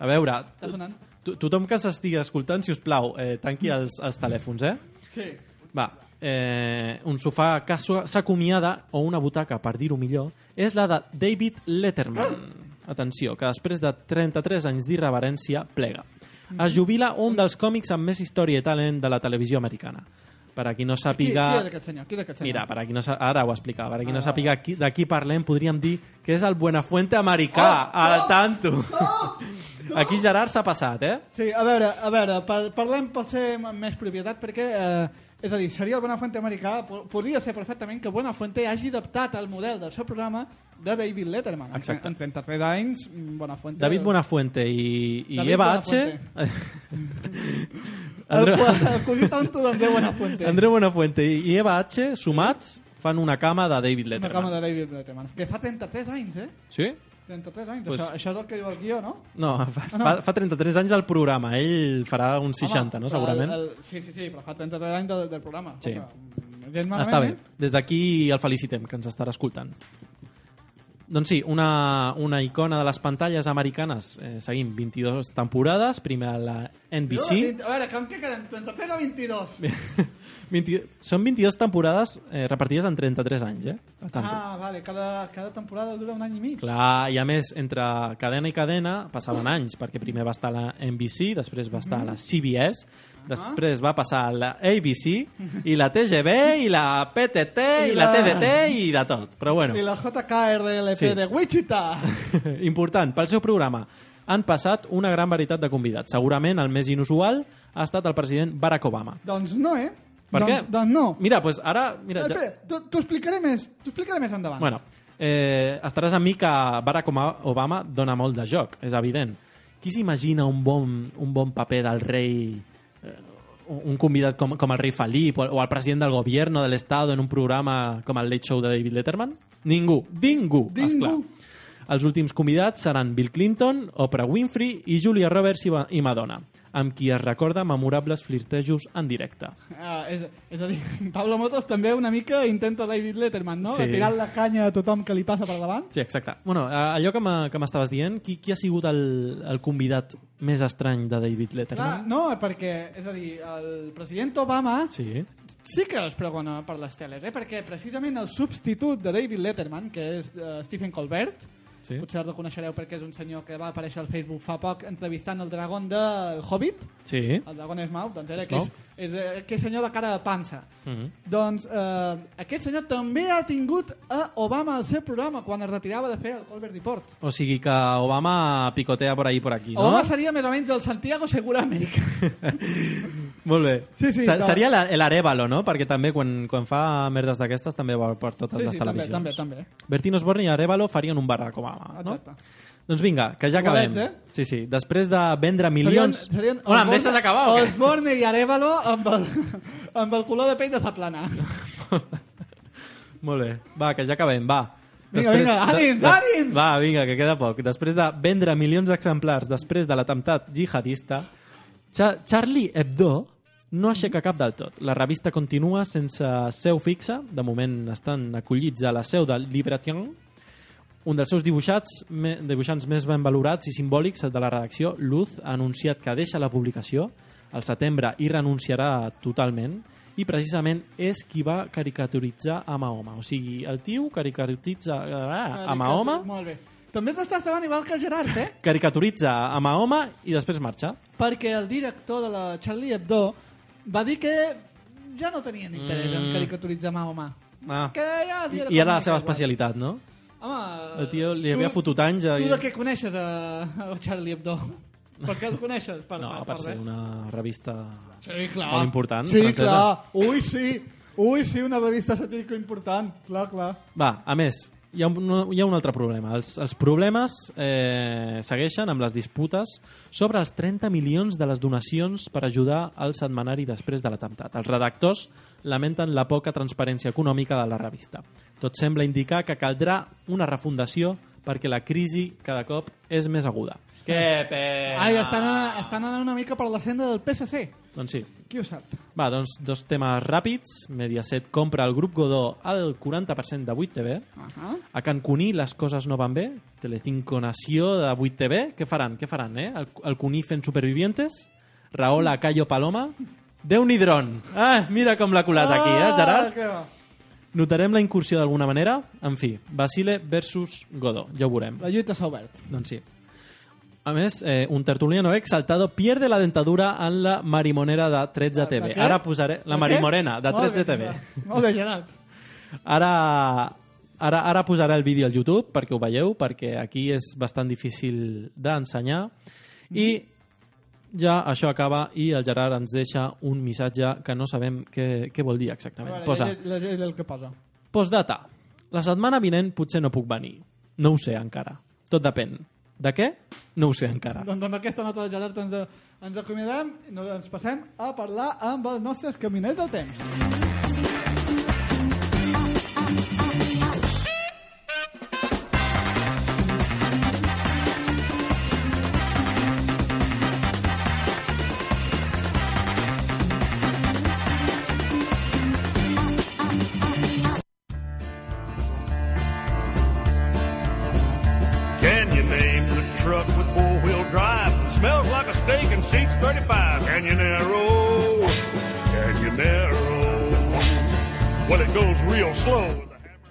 S2: A veure,
S1: Està sonant?
S2: to- tothom que s'estigui escoltant, si us plau, eh, tanqui els, els telèfons, eh?
S1: Sí.
S2: Va, eh, un sofà que s'ha- s'acomiada, o una butaca, per dir-ho millor, és la de David Letterman. Atenció, que després de 33 anys d'irreverència plega. Es jubila un dels còmics amb més història i talent de la televisió americana. Per a qui no
S1: Qui, qui
S2: sàpiga...
S1: era aquest senyor? Qui era aquest senyor?
S2: Mira, per a qui no sa... ara ho explicava, per a qui no sàpiga qui, de qui parlem, podríem dir que és el Buenafuente americà, al tanto. Aquí Gerard s'ha passat, eh?
S1: Sí, a veure, a veure, par parlem per ser amb més propietat, perquè, eh, és a dir, seria el Buenafuente americà, po- podria ser perfectament que Buenafuente hagi adaptat el model del seu programa de David Letterman.
S2: Exacte.
S1: En, en 33 anys, mm, Buenafuente...
S2: David Buenafuente i, i
S1: David
S2: Eva H.
S1: Buenafuente. El, cua- el cosí tonto d'Andreu Buenafuente.
S2: Andreu Buenafuente i i Eva H. sumats fan una cama de David
S1: Una
S2: Letterman.
S1: cama de David Letterman. Que fa 33 anys, eh?
S2: Sí?
S1: 33 anys.
S2: Pues-
S1: Pues... Això, això és el que diu el guió, no?
S2: No, fa,
S1: Ah, No, no.
S2: fa, fa 33 anys del programa. Ell farà uns 60,
S1: Home,
S2: no?
S1: però
S2: Segurament.
S1: El, el, sí, sí, sí, però fa 33 anys del, del programa.
S2: Sí.
S1: Escolta, gent malament,
S2: Està bé.
S1: eh?
S2: Des d'aquí el felicitem, que ens estarà escoltant. Doncs sí, una, una icona de les pantalles americanes. Eh, seguim, 22 temporades, primer a la NBC.
S1: A veure, com que queden? 33 o 22?
S2: 20, són 22 temporades eh, repartides en 33 anys, eh? Per tant,
S1: Ah, vale, cada, cada temporada dura un any i mig.
S2: Clar, i a més, entre cadena i cadena passaven anys, perquè primer va estar a la NBC, després va estar a
S1: Mm.
S2: la CBS,
S1: Ah.
S2: després va passar a la ABC, i la TGV, i la PTT,
S1: I
S2: i la
S1: la-
S2: TDT, i de tot. Però bueno,
S1: I la JKRLP
S2: Sí.
S1: de Wichita.
S2: important, pel seu programa han passat una gran varietat de convidats. Segurament el més inusual ha estat el president Barack Obama.
S1: doncs no, eh?
S2: Per
S1: doncs,
S2: què?
S1: Doncs no.
S2: Mira, doncs ara... Mira, ja-
S1: Espera, t'ho- t'ho explicaré més, t'ho explicaré més endavant.
S2: Bueno, eh, estaràs amb mi que Barack Oma- Obama dona molt de joc, és evident. Qui s'imagina un bon, un bon paper del rei, eh, un convidat com, com el rei Felip o, o el president del govern de l'Estat en un programa com el Late Show de David Letterman? Ningú, ningú, esclar. Els últims convidats seran Bill Clinton, Oprah Winfrey i Julia Roberts i, Ma- i Madonna, amb qui es recorda memorables flirtejos en directe.
S1: Ah, és, és a dir, Pablo Motos també una mica intenta David Letterman, no?
S2: Sí.
S1: Sí. Tirant la canya a tothom que li passa per davant.
S2: Sí, exacte. Bueno, a- allò que m'ha- que m'estaves dient, qui, qui ha sigut el, el convidat més estrany de David
S1: Clar,
S2: Letterman?
S1: no, perquè, és a dir, el president Obama
S2: Sí.
S1: sí que els pregona per les teles, eh? perquè precisament el substitut de David Letterman, que és eh, Stephen Colbert,
S2: Sí.
S1: potser el reconeixereu perquè és un senyor que va aparèixer al Facebook fa poc entrevistant el dragon del Hobbit,
S2: Sí.
S1: el dragon Smaug, doncs era
S2: Smaug.
S1: aquell, és, eh, aquell senyor de cara de pansa.
S2: Mhm.
S1: Doncs eh, aquest senyor també ha tingut a Obama al seu programa quan es retirava de fer el Colbert Report.
S2: O sigui que Obama picotea por ahí por aquí, no?
S1: Obama seria més o menys el Santiago Segura América.
S2: Molt bé.
S1: Sí, sí,
S2: Se-
S1: no.
S2: Seria la- l'Arevalo, no? Perquè també quan, quan fa merdes d'aquestes també va per totes
S1: Sí,
S2: les
S1: sí, també,
S2: televisions.
S1: també, també.
S2: Bertino Osborne i Arevalo farien un barra com Obama, no?
S1: Exacte.
S2: Doncs vinga, que ja acabem.
S1: Igualets, eh?
S2: Sí, sí. Després de vendre milions...
S1: Serien, serien
S2: Hola, em
S1: Osborne-
S2: deixes acabar o què?
S1: Osborne i Arevalo amb el, amb el color de pell de Zaplana.
S2: Molt bé. Va, que ja acabem, va.
S1: Vinga, vinga, ànims,
S2: de- de-
S1: ànims!
S2: Va, vinga, que queda poc. Després de vendre milions d'exemplars després de l'atemptat jihadista, Cha Charlie Hebdo no aixeca cap del tot. La revista continua sense seu fixa. De moment estan acollits a la seu de Liberation, un dels seus dibuixats, me, dibuixants més ben valorats i simbòlics de la redacció, Luz, ha anunciat que deixa la publicació al setembre i renunciarà totalment i precisament és qui va caricaturitzar a Mahoma. O sigui, el tio caricaturitza ah, a Mahoma,
S1: Molt bé. També t'estàs davant igual que el Gerard, eh?
S2: caricaturitza a Mahoma i després marxa.
S1: Perquè el director de la Charlie Hebdo va dir que ja no tenien interès mm.
S2: Mm.
S1: en caricaturitzar Mahoma.
S2: Ah.
S1: Que ja els
S2: I,
S1: era
S2: I era
S1: com
S2: la
S1: que
S2: seva
S1: igual.
S2: especialitat, no?
S1: Home,
S2: El tio li
S1: tu-
S2: havia fotut anys...
S1: Tu
S2: i-
S1: de què coneixes a, a Charlie Hebdo? Per què el coneixes? Per,
S2: No, per ser
S1: res?
S2: una revista
S1: Sí, clar.
S2: molt important.
S1: Sí,
S2: francesa.
S1: clar. Ui, sí. Ui, sí, una revista satírica important. Clar, clar.
S2: Va, a més, hi ha un, hi ha un altre problema. Els, els problemes eh, segueixen amb les disputes sobre els 30 milions de les donacions per ajudar al setmanari després de l'atemptat. Els redactors lamenten la poca transparència econòmica de la revista. Tot sembla indicar que caldrà una refundació perquè la crisi cada cop és més aguda. Que pena!
S1: Ai, estan, anant- estan anant una mica per la senda del PSC.
S2: Doncs sí.
S1: Qui ho sap?
S2: Va, doncs dos temes ràpids. Mediaset compra el grup Godó al 40% de 8TV.
S1: Ahà.
S2: A Cancuní les coses no van bé. Telecinco Nació de 8TV. Què faran? Què faran, eh? El, el Cuní fent supervivientes? Rahola a Cayo Paloma? déu nhi Ah, mira com l'ha colat aquí, eh, Gerard?
S1: Ah, que va.
S2: Notarem la incursió d'alguna manera? En fi, Basile versus Godó, ja ho veurem.
S1: La lluita s'ha obert.
S2: Doncs sí. A més, eh, un tertuliano exaltado pierde la dentadura en la marimonera de 13 TV.
S1: Ah, què?
S2: Ara posaré... La
S1: què?
S2: marimorena de
S1: Molt bé,
S2: 13 TV.
S1: Gerard. Molt bé, Gerard.
S2: Ara, ara, ara posaré el vídeo al YouTube perquè ho veieu, perquè aquí és bastant difícil d'ensenyar. I ja això acaba i el Gerard ens deixa un missatge que no sabem què, què vol dir
S1: A
S2: exactament.
S1: veure,
S2: Posa,
S1: ja- ja- ja- ja el que posa.
S2: postdata. La setmana vinent potser no puc venir. No ho sé encara. Tot depèn. De què? No ho sé encara.
S1: Doncs amb aquesta nota de Gerard ens, ens acomiadem i no- ens passem a parlar amb els nostres caminers del temps.
S22: Can you name the truck with four-wheel drive? Smells like a steak and seats 35. Can you narrow? Can you narrow? Well, it goes real slow.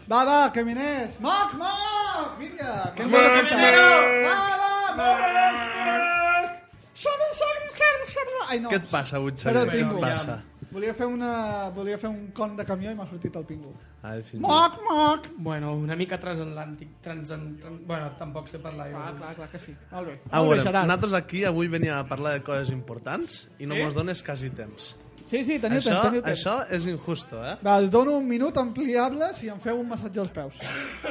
S1: Va, va, caminers! Moc, moc! Vinga, que ens
S22: Moc,
S1: has de contar?
S22: moc!
S1: Va, va, moc! Som el sobre, esquerra, sobre... Ai, no.
S7: Què et passa, Butxer?
S1: Espera,
S7: Què et
S1: pingo.
S7: passa?
S1: Volia fer, una, volia fer un con de camió i m'ha sortit el pingo.
S7: Ai, fins
S1: Moc, moc!
S6: Bueno, una mica transatlàntic. Transan... Bueno, tampoc sé parlar. Ah, clar, clar que sí.
S1: Molt bé. Molt
S7: A
S1: bé,
S7: veure,
S1: Gerard.
S7: Ah, nosaltres aquí avui veníem a parlar de coses importants i no
S1: Sí?
S7: mos dones quasi temps.
S1: Sí, sí, teniu
S7: això,
S1: temps, teniu temps.
S7: Això és injusto, eh?
S1: Va, us dono un minut ampliable si em feu un massatge als peus.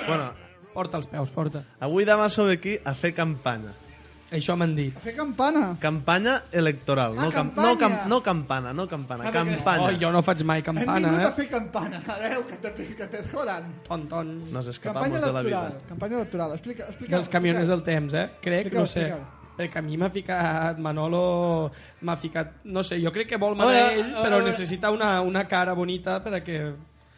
S7: Bueno,
S6: porta els peus, porta.
S7: Avui demà som aquí a fer campanya.
S6: Això m'han dit.
S1: A fer campana?
S7: Campanya electoral.
S1: Ah,
S7: no, camp-
S1: campanya.
S7: No, camp- no campana, no campana.
S6: Ara que-
S7: Campanya.
S6: Oh, jo no faig mai eh?
S1: Hem vingut
S7: Campana, eh?
S1: a fer campana. Adéu, que te, que te jodan.
S6: Ton, ton.
S7: Nos
S1: Campanya
S7: escapamos de la
S1: electoral.
S7: vida.
S1: Campanya electoral. Explica, explica.
S6: dels camioners del temps, eh? Crec,
S1: Explica-ho,
S6: no sé.
S1: explica-ho.
S6: Perquè a mi m'ha ficat Manolo... M'ha ficat... No sé, jo crec que vol
S7: Hola,
S6: manar ell,
S7: hola.
S6: però necessita una, una cara bonita per a que...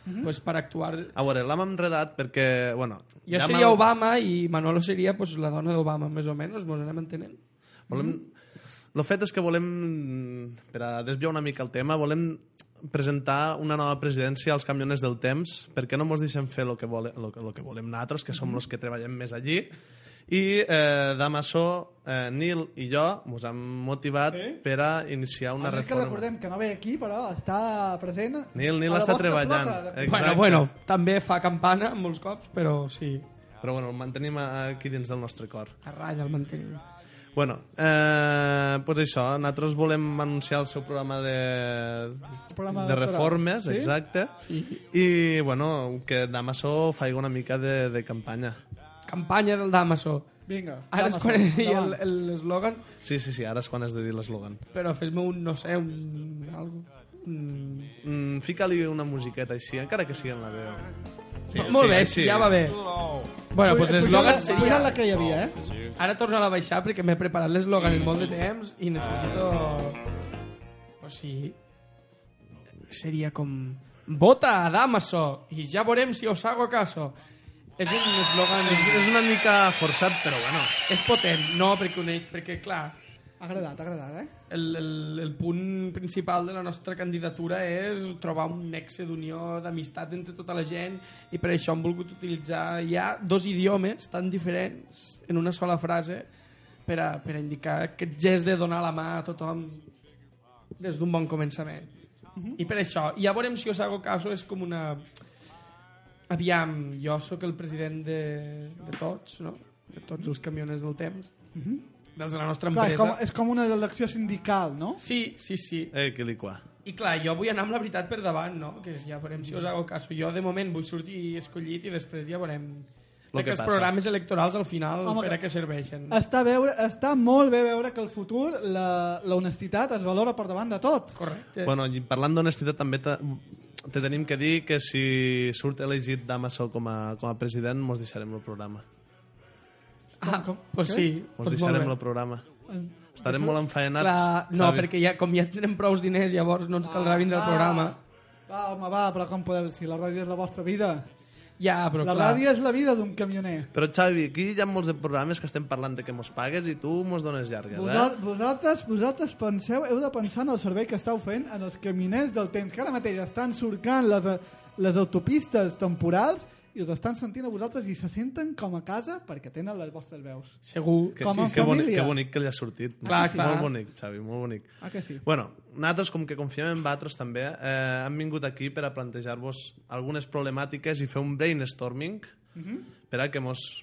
S1: Mhm.
S6: pues, per actuar...
S7: A veure, l'hem enredat perquè, bueno...
S6: Jo
S7: ja
S6: seria
S7: m'ha-
S6: Obama i Manolo seria pues, la dona d'Obama, més o menys, mos anem entenent.
S7: Volem... El fet és que volem, per a desviar una mica el tema, volem presentar una nova presidència als camioners del temps perquè no mos deixen fer el que, vole, lo, que- lo que volem nosaltres, que som els que treballem més allí. I eh, Damaso, eh, Nil i jo mos hem motivat sí? per a iniciar
S1: A
S7: una
S1: més que
S7: reforma.
S1: recordem que no ve aquí, però està present...
S7: Nil,
S1: a
S7: Nil
S1: la vostra
S7: està treballant.
S1: flota de-
S7: Exacte.
S6: Bueno, bueno, també fa campana molts cops, però sí.
S7: Però bueno, el mantenim aquí dins del nostre cor.
S6: A ratlla el mantenim.
S7: Bueno, eh, pues això, nosaltres volem anunciar el seu programa de,
S1: programa
S7: Eh, de
S1: electoral.
S7: reformes,
S1: Sí?
S7: exacte, i bueno, que Damaso faci una mica de, de campanya.
S6: Campanya del Damaso.
S1: Vinga,
S6: Ara
S1: Damaso,
S6: és quan he dit
S1: endavant.
S6: el- el- l'eslògan,
S7: Sí, sí, sí, ara és quan has de dir l'eslògan.
S6: però fes-me un, no sé, un... Algo. Mm.
S7: Mm, Fica-li una musiqueta així, encara que sigui en la veu.
S6: Molt bé, sí, ja va bé. Bueno, doncs l'eslògan
S1: Cuida-
S6: seria...
S1: cuida la que hi havia, eh?
S6: Ara torna a baixar perquè m'he preparat l'eslògan en molt de temps i necessito... O sigui... Seria com... Vota a Damaso i ja veurem si us hago caso. És un eslògan...
S7: És, és una mica forçat, però bueno.
S6: És potent, no, perquè uneix, perquè clar...
S1: Ha agradat, ha agradat, eh?
S6: El, el, el punt principal de la nostra candidatura és trobar un nexe d'unió, d'amistat entre tota la gent i per això hem volgut utilitzar ja dos idiomes tan diferents en una sola frase per, a, per a indicar aquest gest de donar la mà a tothom des d'un bon començament. I per això, i ja veurem si us hago caso, és com una... Aviam, jo sóc el president de, de tots, no? De tots els camioners del temps. Des de la nostra
S1: Mhm. Clar,
S6: empresa.
S1: és, com, és com una elecció sindical, no?
S6: Sí, sí, sí.
S7: Eh, que li qua.
S6: I clar, jo vull anar amb la veritat per davant, no? Que ja veurem
S7: Mm.
S6: si us hago caso. Jo, de moment, vull sortir escollit i després ja veurem...
S7: Lo que
S6: Perquè els
S7: passa.
S6: programes electorals, al final,
S1: Home,
S6: per a
S1: que-
S6: què serveixen?
S1: Està, a veure, està molt bé veure que al futur la, la honestitat es valora per davant de tot.
S6: Correcte.
S7: Bueno, i parlant d'honestitat, també te, te tenim que dir que si surt elegit Damaso com a, com a president, mos deixarem el programa.
S6: Ah, com, pues
S7: Què?
S6: sí.
S7: Mos
S6: pues molt
S7: deixarem
S6: bé. Eh.
S7: el programa. Estarem molt enfeinats,
S6: Clar, no,
S7: Xavi.
S6: perquè ja, com ja tenem prous diners,
S1: Ah,
S6: llavors no ens caldrà vindre al programa.
S1: Va, home, va, però com podeu... Si la ràdio és la vostra vida.
S6: Ja, però
S1: la
S6: clar...
S1: ràdio és la vida d'un camioner.
S7: Però Xavi, aquí hi ha molts de programes que estem parlant de que mos pagues i tu mos dones llargues,
S1: Vosal-
S7: eh?
S1: Vosaltres, vosaltres penseu, heu de pensar en el servei que esteu fent en els caminers del temps, que ara mateix estan surcant les, les autopistes temporals i us estan sentint a vosaltres i se senten com a casa perquè tenen les vostres veus.
S6: Segur.
S7: Que
S1: Com
S7: sí,
S1: en
S7: que bonic,
S1: família.
S7: que bonic que li ha sortit.
S1: Clar,
S7: molt
S1: clar.
S7: bonic, Xavi, molt bonic.
S1: Ah, que sí?
S7: Bueno, nosaltres, com que confiem en vosaltres també, eh, hem vingut aquí per a plantejar-vos algunes problemàtiques i fer un brainstorming
S1: Mhm.
S7: per a que mos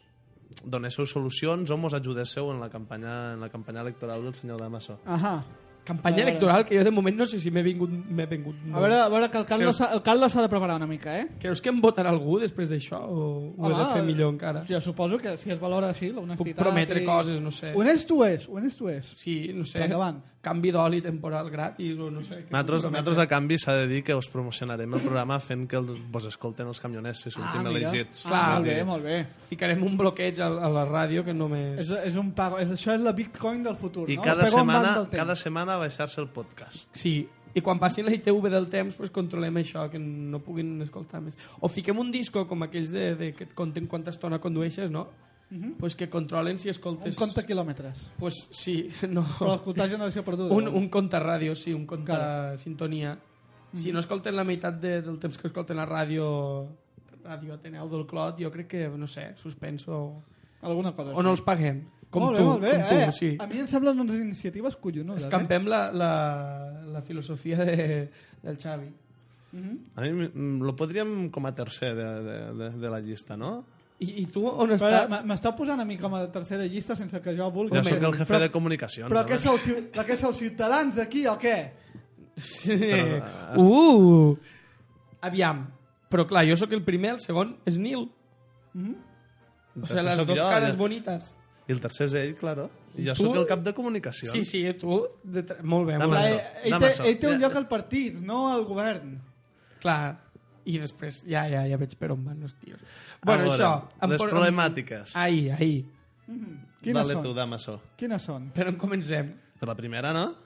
S7: donéssiu solucions o mos ajudéssiu en la campanya, en la campanya electoral del senyor Damaso.
S1: Ahà.
S6: Campanya electoral, que jo de moment no sé si m'he vingut... M'he vingut
S1: A veure, a veure que el Carlos,
S6: Creus-
S1: el Carlos s'ha de preparar una mica, eh?
S6: Creus que em votarà algú després d'això o ho he de
S1: Home,
S6: fer millor encara?
S1: Jo suposo que si es valora així, l'honestitat...
S6: Puc prometre
S1: i-
S6: coses, no sé.
S1: Honest ho és, honest ho és.
S6: Sí, no sé.
S1: Però endavant.
S6: Canvi d'oli temporal gratis o no sé. què
S7: Nosaltres,
S6: puc prometre.
S7: nosaltres, a canvi, s'ha de dir que us promocionarem el programa fent que el, vos escolten els camioners si
S6: Ah,
S7: sortim elegits. Vull dir,
S1: molt Ah, bé.
S6: Ficarem un bloqueig a, a la ràdio que només...
S1: És, és un pago, és, això és la Bitcoin del futur,
S7: I
S1: no?
S7: cada
S1: Pego en
S7: setmana,
S1: banda el temps.
S7: cada setmana baixar-se el podcast.
S6: Sí, i quan passin la ITV del temps pues, controlem això, que no puguin escoltar més. O fiquem un disco com aquells de, de que et conten quanta estona condueixes, no?
S1: Mhm.
S6: pues que controlen si escoltes...
S1: Un compte quilòmetres.
S6: Pues sí, no.
S1: Per escoltar Generació Perduda.
S6: Un, un compte ràdio, sí, un compte
S1: Clar.
S6: sintonia. Si
S1: Mhm.
S6: no escolten la meitat de, del temps que escolten la ràdio Ràdio Ateneu del Clot, jo crec que, no sé, suspenso...
S1: Alguna cosa
S6: O no
S1: així.
S6: els paguem. Com
S1: molt bé,
S6: tu,
S1: molt bé.
S6: com tu,
S1: eh?
S6: sí.
S1: A mi em semblen unes iniciatives eh? collonudes.
S6: Escampem la, la, la filosofia de, del Xavi.
S1: Eh? Mhm.
S7: A mi mm, lo podríem com a tercer de, de, de, de la llista, no?
S6: I, I tu on
S1: Però
S6: estàs?
S1: m- M'està posant a mi com a tercer de llista sense que jo vulgui.
S7: Ja sóc el jefe
S1: Però-
S7: de comunicacions.
S1: Però
S7: home.
S1: què sou, ciu- però què sou ciutadans d'aquí o què?
S6: Però,
S7: eh,
S6: uh! Aviam. Però clar, jo sóc el primer, el segon és Nil.
S1: Mm
S6: O
S7: Tercer
S14: sea, las
S7: sóc
S14: dos caras
S7: ja.
S6: bonitas.
S7: I el tercer és ell, claro. I jo
S6: Tu-
S7: sóc el cap de comunicacions.
S6: Sí, sí, tu... De tra... Molt bé.
S7: Dame
S6: molt bé.
S7: això,
S1: E- Ell
S7: dame
S1: té,
S7: això.
S1: ell té un
S6: Ja.
S1: lloc al partit, no al govern.
S6: Clar. I després, ja, ja, ja veig per on van els tios.
S7: A
S6: Bueno,
S7: veure,
S6: això... em
S7: Ah, les
S6: por- em-
S7: problemàtiques.
S6: Ahí, ahí.
S1: Quines
S7: Dale
S1: són?
S7: tu, Damaso.
S1: Quines són?
S6: Per on comencem?
S7: Per la primera, no?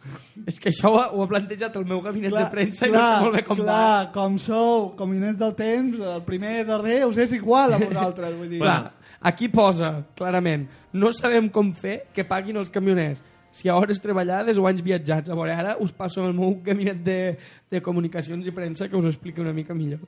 S6: És que això ho ha, ho ha plantejat el meu gabinet de premsa i no sé molt bé com
S1: clar, com sou, com inés del temps, el primer darrer us és igual a vosaltres. Vull
S6: va.
S1: dir.
S6: Clar, aquí posa, clarament, no sabem com fer que paguin els camioners. Si a hores treballades o anys viatjats. A veure, ara us passo el meu gabinet de, de comunicacions i premsa que us ho expliqui una mica millor.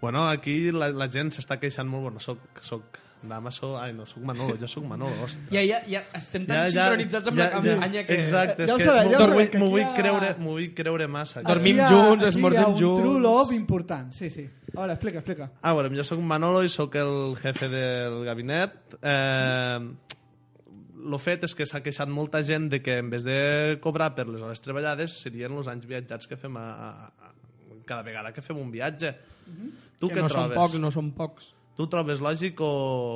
S7: Bueno, aquí la, la gent s'està queixant molt. Bueno, soc, soc Damaso... Ai, no, soc Manolo. Jo soc Manolo, hòstia.
S6: Ja, ja, ja estem tan ja, sincronitzats amb ja, la campanya que...
S7: Exacte, és
S1: ho
S7: que
S1: sabeu, ja ho
S7: m'ho
S1: sabeu,
S7: vull-
S1: que aquí
S7: m'ho vull,
S1: hi ha-
S7: creure, m'ho vull creure massa.
S1: Aquí hi ha- aquí hi ha un true love important, sí, sí. A veure, explica, explica.
S7: Ah, bueno, jo sóc Manolo i sóc el jefe del gabinet. Eh, lo fet és que s'ha queixat molta gent de que en vez de cobrar per les hores treballades serien els anys viatjats que fem a, a, a, cada vegada que fem un viatge. Tu
S6: Mhm. Que
S7: què
S6: no són
S7: trobes?
S6: pocs, no són pocs.
S7: Tu ho trobes lògic o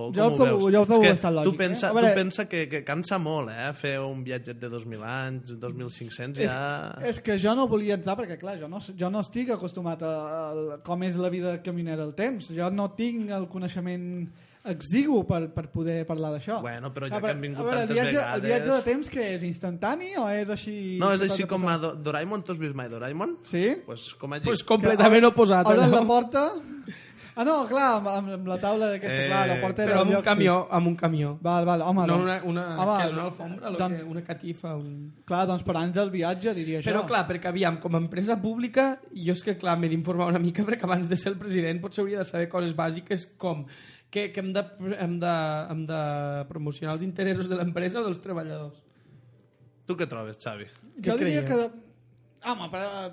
S7: com
S6: Jo ho trobo-
S7: ho veus?
S6: jo ho trobo
S7: És que
S6: bastant lògic,
S7: Tu pensa,
S6: eh? A
S7: tu
S6: veure-
S7: pensa que, que cansa molt, eh? Fer un viatget de 2.000 anys, 2.500, ja...
S1: És, és que jo no volia entrar perquè, clar, jo no, jo no estic acostumat a, a com és la vida caminera del temps. Jo no tinc el coneixement exigu per, per poder parlar d'això.
S7: Bueno, però
S1: Ah,
S7: ja que hem vingut
S1: a veure,
S7: tantes
S1: el viatge,
S7: vegades...
S1: El viatge de temps que és instantani o és així... tota
S7: No, és així com a Do- Doraemon, tu has vist mai Doraemon?
S1: Sí.
S7: Pues com a
S6: Pues completament oposat, eh?
S1: Obres
S6: allò.
S1: la porta... Ah, no, clar, amb, amb- amb la taula d'aquesta,
S6: Eh,
S1: eh, clar, la porta
S6: però
S1: era... el
S6: amb un
S1: lloc,
S6: camió,
S1: Sí.
S6: amb un camió.
S1: Val, val, home,
S6: no,
S1: doncs...
S6: una, una,
S1: home,
S6: que és una alfombra, lo
S1: doncs-
S6: que, una catifa, un...
S1: Clar, doncs per anys del viatge, diria
S6: Però
S1: jo.
S6: clar, perquè aviam, com a empresa pública, jo és que clar, m'he d'informar una mica perquè abans de ser el president potser hauria de saber coses bàsiques com que, que hem, de, hem, de, hem de promocionar els interessos de l'empresa o dels treballadors.
S7: Tu què trobes, Xavi?
S1: Jo diria que... de- Home, però...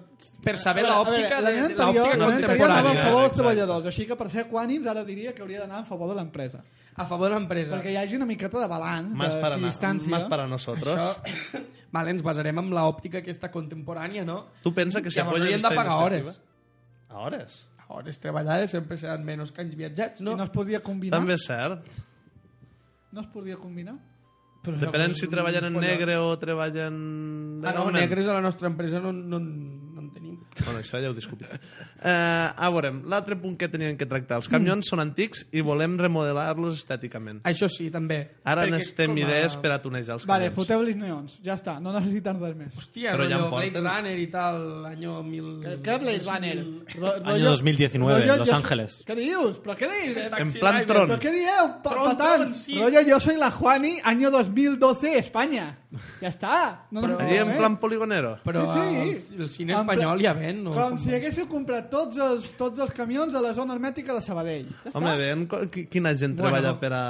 S6: Per saber
S1: A veure,
S6: l'òptica
S1: a veure,
S6: de-
S1: La meva
S6: l'òptica
S1: anterior, la meva anterior
S6: contemporània.
S1: anava a favor dels
S6: Exacte.
S1: treballadors, així que per ser equànims ara diria que hauria d'anar a favor de l'empresa.
S6: A favor de l'empresa.
S1: Perquè hi hagi una miqueta de balanç,
S6: Más
S1: de
S6: para na-
S1: distància.
S6: más para
S7: nosotros.
S6: Això... Vale, ens basarem en l'òptica aquesta contemporània, no?
S7: Tu pensa que si
S6: Llavors
S7: apoyes
S6: hauríem de
S7: esta
S6: pagar
S7: iniciativa-
S6: hores.
S7: A hores?
S6: A hores treballades sempre seran menys que anys viatjats, no?
S1: I no es podia combinar?
S7: També és cert.
S1: No es podia combinar?
S6: Però
S7: Depèn si treballen en negre o treballen...
S6: Ah, no,
S7: legalment.
S6: negres a la nostra empresa no, no, no en tenim.
S7: Bueno, això ja ho discutiré. Eh, a veure, l'altre punt que tenien que tractar. Els camions són antics i volem remodelar-los estèticament.
S6: Això sí, també.
S7: Ara
S6: Perquè
S7: n'estem
S6: com a-
S7: idees per a tunejar els
S1: Vale,
S7: camions.
S1: foteu-los neons. Ja està, no necessiten res més.
S6: Hòstia, però ja Blade Runner i tal, l'any 1000...
S1: Què Blade Runner? Ro-
S2: Año
S1: rotllo-
S2: 2019,
S1: rotllo
S2: Los
S1: jo-
S2: Ángeles.
S1: Què dius? Però què dius?
S2: En plan Driver. Tron.
S1: Però què dieu? Pa
S6: Tron,
S1: patans.
S6: Tron, sí.
S1: Rollo, yo soy la Juani, año 2012, España. Ja està. No eh?
S6: Però-
S1: necessiteu
S6: Allí en
S1: res.
S6: plan
S7: poligonero.
S6: Però eh,
S1: Sí, sí.
S6: el, el cine
S1: En pla-
S6: espanyol ja ven, no?
S1: Com si haguéssiu comprat tots els, tots els camions a la zona hermètica de Sabadell. Ja està.
S7: Home, veiem co- qui- quina gent
S1: Bueno.
S7: treballa per a,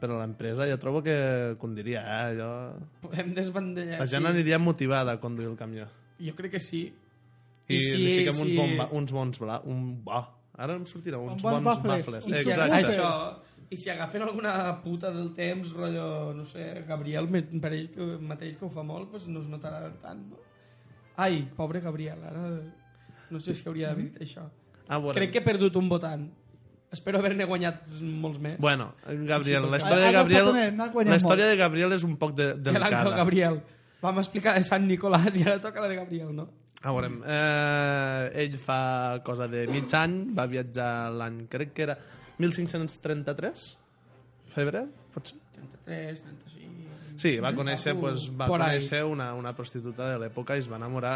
S7: per a l'empresa. Jo trobo que condiria, eh? Jo...
S6: Podem desbandellar.
S7: La gent
S6: sí.
S7: aniria motivada a conduir el camió.
S6: Jo crec que sí.
S7: I,
S6: si-
S7: li fiquem uns,
S6: si-
S7: bon, ba- uns bons bla, un, oh, ara em sortirà uns
S6: bon
S7: bons,
S6: bafles.
S7: bafles.
S6: I si
S7: Exacte.
S6: agafen Això, I si agafen alguna puta del temps, rotllo, no sé, Gabriel, me pareix que, mateix que ho fa molt, doncs no es notarà tant, no? Ai, pobre Gabriel, ara no sé si hauria
S1: Mm.
S6: d'haver dit això.
S7: Ah, bueno.
S6: Crec que he perdut un votant. Espero haver-ne guanyat molts més.
S7: Bueno, Gabriel,
S6: Sí,
S7: la
S6: sí.
S7: història de Gabriel, la història
S6: molt.
S7: de Gabriel és un poc de,
S6: De l'Àngel
S7: delicada.
S6: Gabriel. Vam explicar de Sant Nicolàs i ara toca la de Gabriel, no?
S7: A veure, eh, ell fa cosa de mig any, va viatjar l'any, crec que era 1533, febrer, potser?
S6: 33, 35...
S7: Sí, va conèixer, pues, va
S6: Por ahí.
S7: conèixer una, una prostituta de l'època i es va enamorar.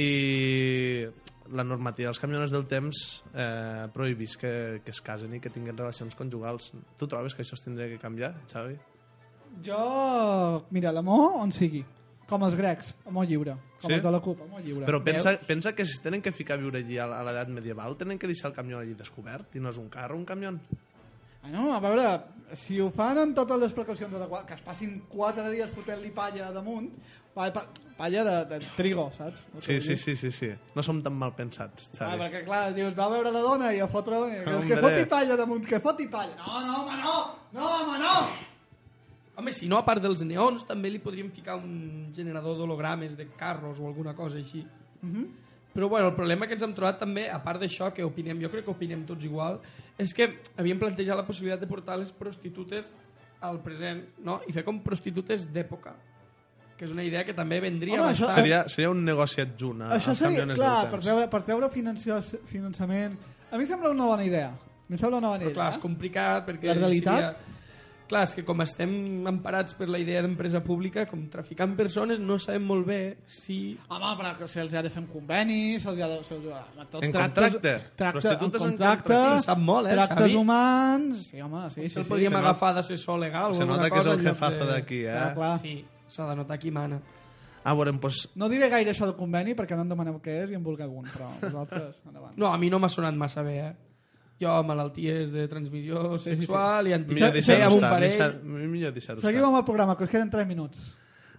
S7: I la normativa dels camioners del temps eh, prohibís que, que es casen i que tinguin relacions conjugals. Tu trobes que això es tindria que canviar, Xavi?
S1: Jo, mira, l'amor on sigui. Com els grecs, amor lliure. Com
S7: Sí?
S1: els de la CUP, amor lliure.
S7: Però pensa, pensa que si es tenen que ficar a viure allí a l- a l'edat medieval, tenen que deixar el camió allí descobert i no és un carro, un camió.
S1: Ah, No, a veure, si ho fan amb totes les precaucions adequades, que es passin 4 dies fotent-li palla damunt, pa, pa, palla de, de trigo, saps?
S7: Sí, sí, sí, sí, sí. No som tan mal pensats,
S1: Ah,
S7: Xavi.
S1: perquè clar, dius, va a veure la dona i a fotre... Que,
S7: Hombre.
S1: que foti palla damunt, que foti palla. No, no, home, no! No, home, no!
S6: Home, si no, a part dels neons, també li podríem ficar un generador d'hologrames de carros o alguna cosa així.
S1: Mhm.
S6: Però bueno, el problema que ens hem trobat també, a part d'això, que opinem, jo crec que opinem tots igual, és que havíem plantejat la possibilitat de portar les prostitutes al present, no? I fer com prostitutes d'època, que és una idea que també vendria
S1: Home, això-
S6: bastant.
S1: Seria-
S7: Seria un negoci adjunt
S6: Ah,
S7: a,
S1: Això
S7: als
S1: seria,
S7: camioners
S1: clar,
S7: del
S1: per
S7: temps.
S1: treure, per treure financi- finançament... A mi em sembla una bona idea. A mi em sembla una bona
S6: Però
S1: idea.
S6: clar, és complicat perquè...
S1: La realitat-
S6: Seria... Clar, és que com estem emparats per la idea d'empresa pública, com traficant persones, no sabem molt bé si...
S1: Home, però que se'ls ha de fer un conveni, se'ls ha de... Se'ls ha de tot
S6: En
S1: tractes-
S6: contracte.
S1: Tracte, en
S6: Prostitutes en
S1: contracte,
S6: contracte. Sap molt, eh,
S1: tractes
S6: Xavi?
S1: humans... Sí, home, sí,
S6: Sí,
S1: sí.
S6: el
S1: sí,
S6: podríem
S1: Se nota-
S6: agafar d'assessor legal
S7: se
S6: o alguna
S7: nota que és
S6: cosa
S7: el
S6: en lloc
S7: jefazo
S6: de-
S7: d'aquí, eh? Clar,
S1: clar.
S6: Sí, s'ha de notar qui mana.
S7: Ah, bueno, pues...
S1: No diré gaire això del conveni perquè no em demaneu què és i em vulgueu un, però vosaltres, endavant.
S6: No, a mi no m'ha sonat massa bé, eh? Jo, malalties de transmissió
S1: sí.
S6: sexual i
S7: Millor
S6: antisexual,
S7: deixar-ho
S6: amb un
S7: estar,
S6: parell...
S7: deixar- millor deixar-ho estar.
S1: Seguim amb el programa, que us queden 3 minuts.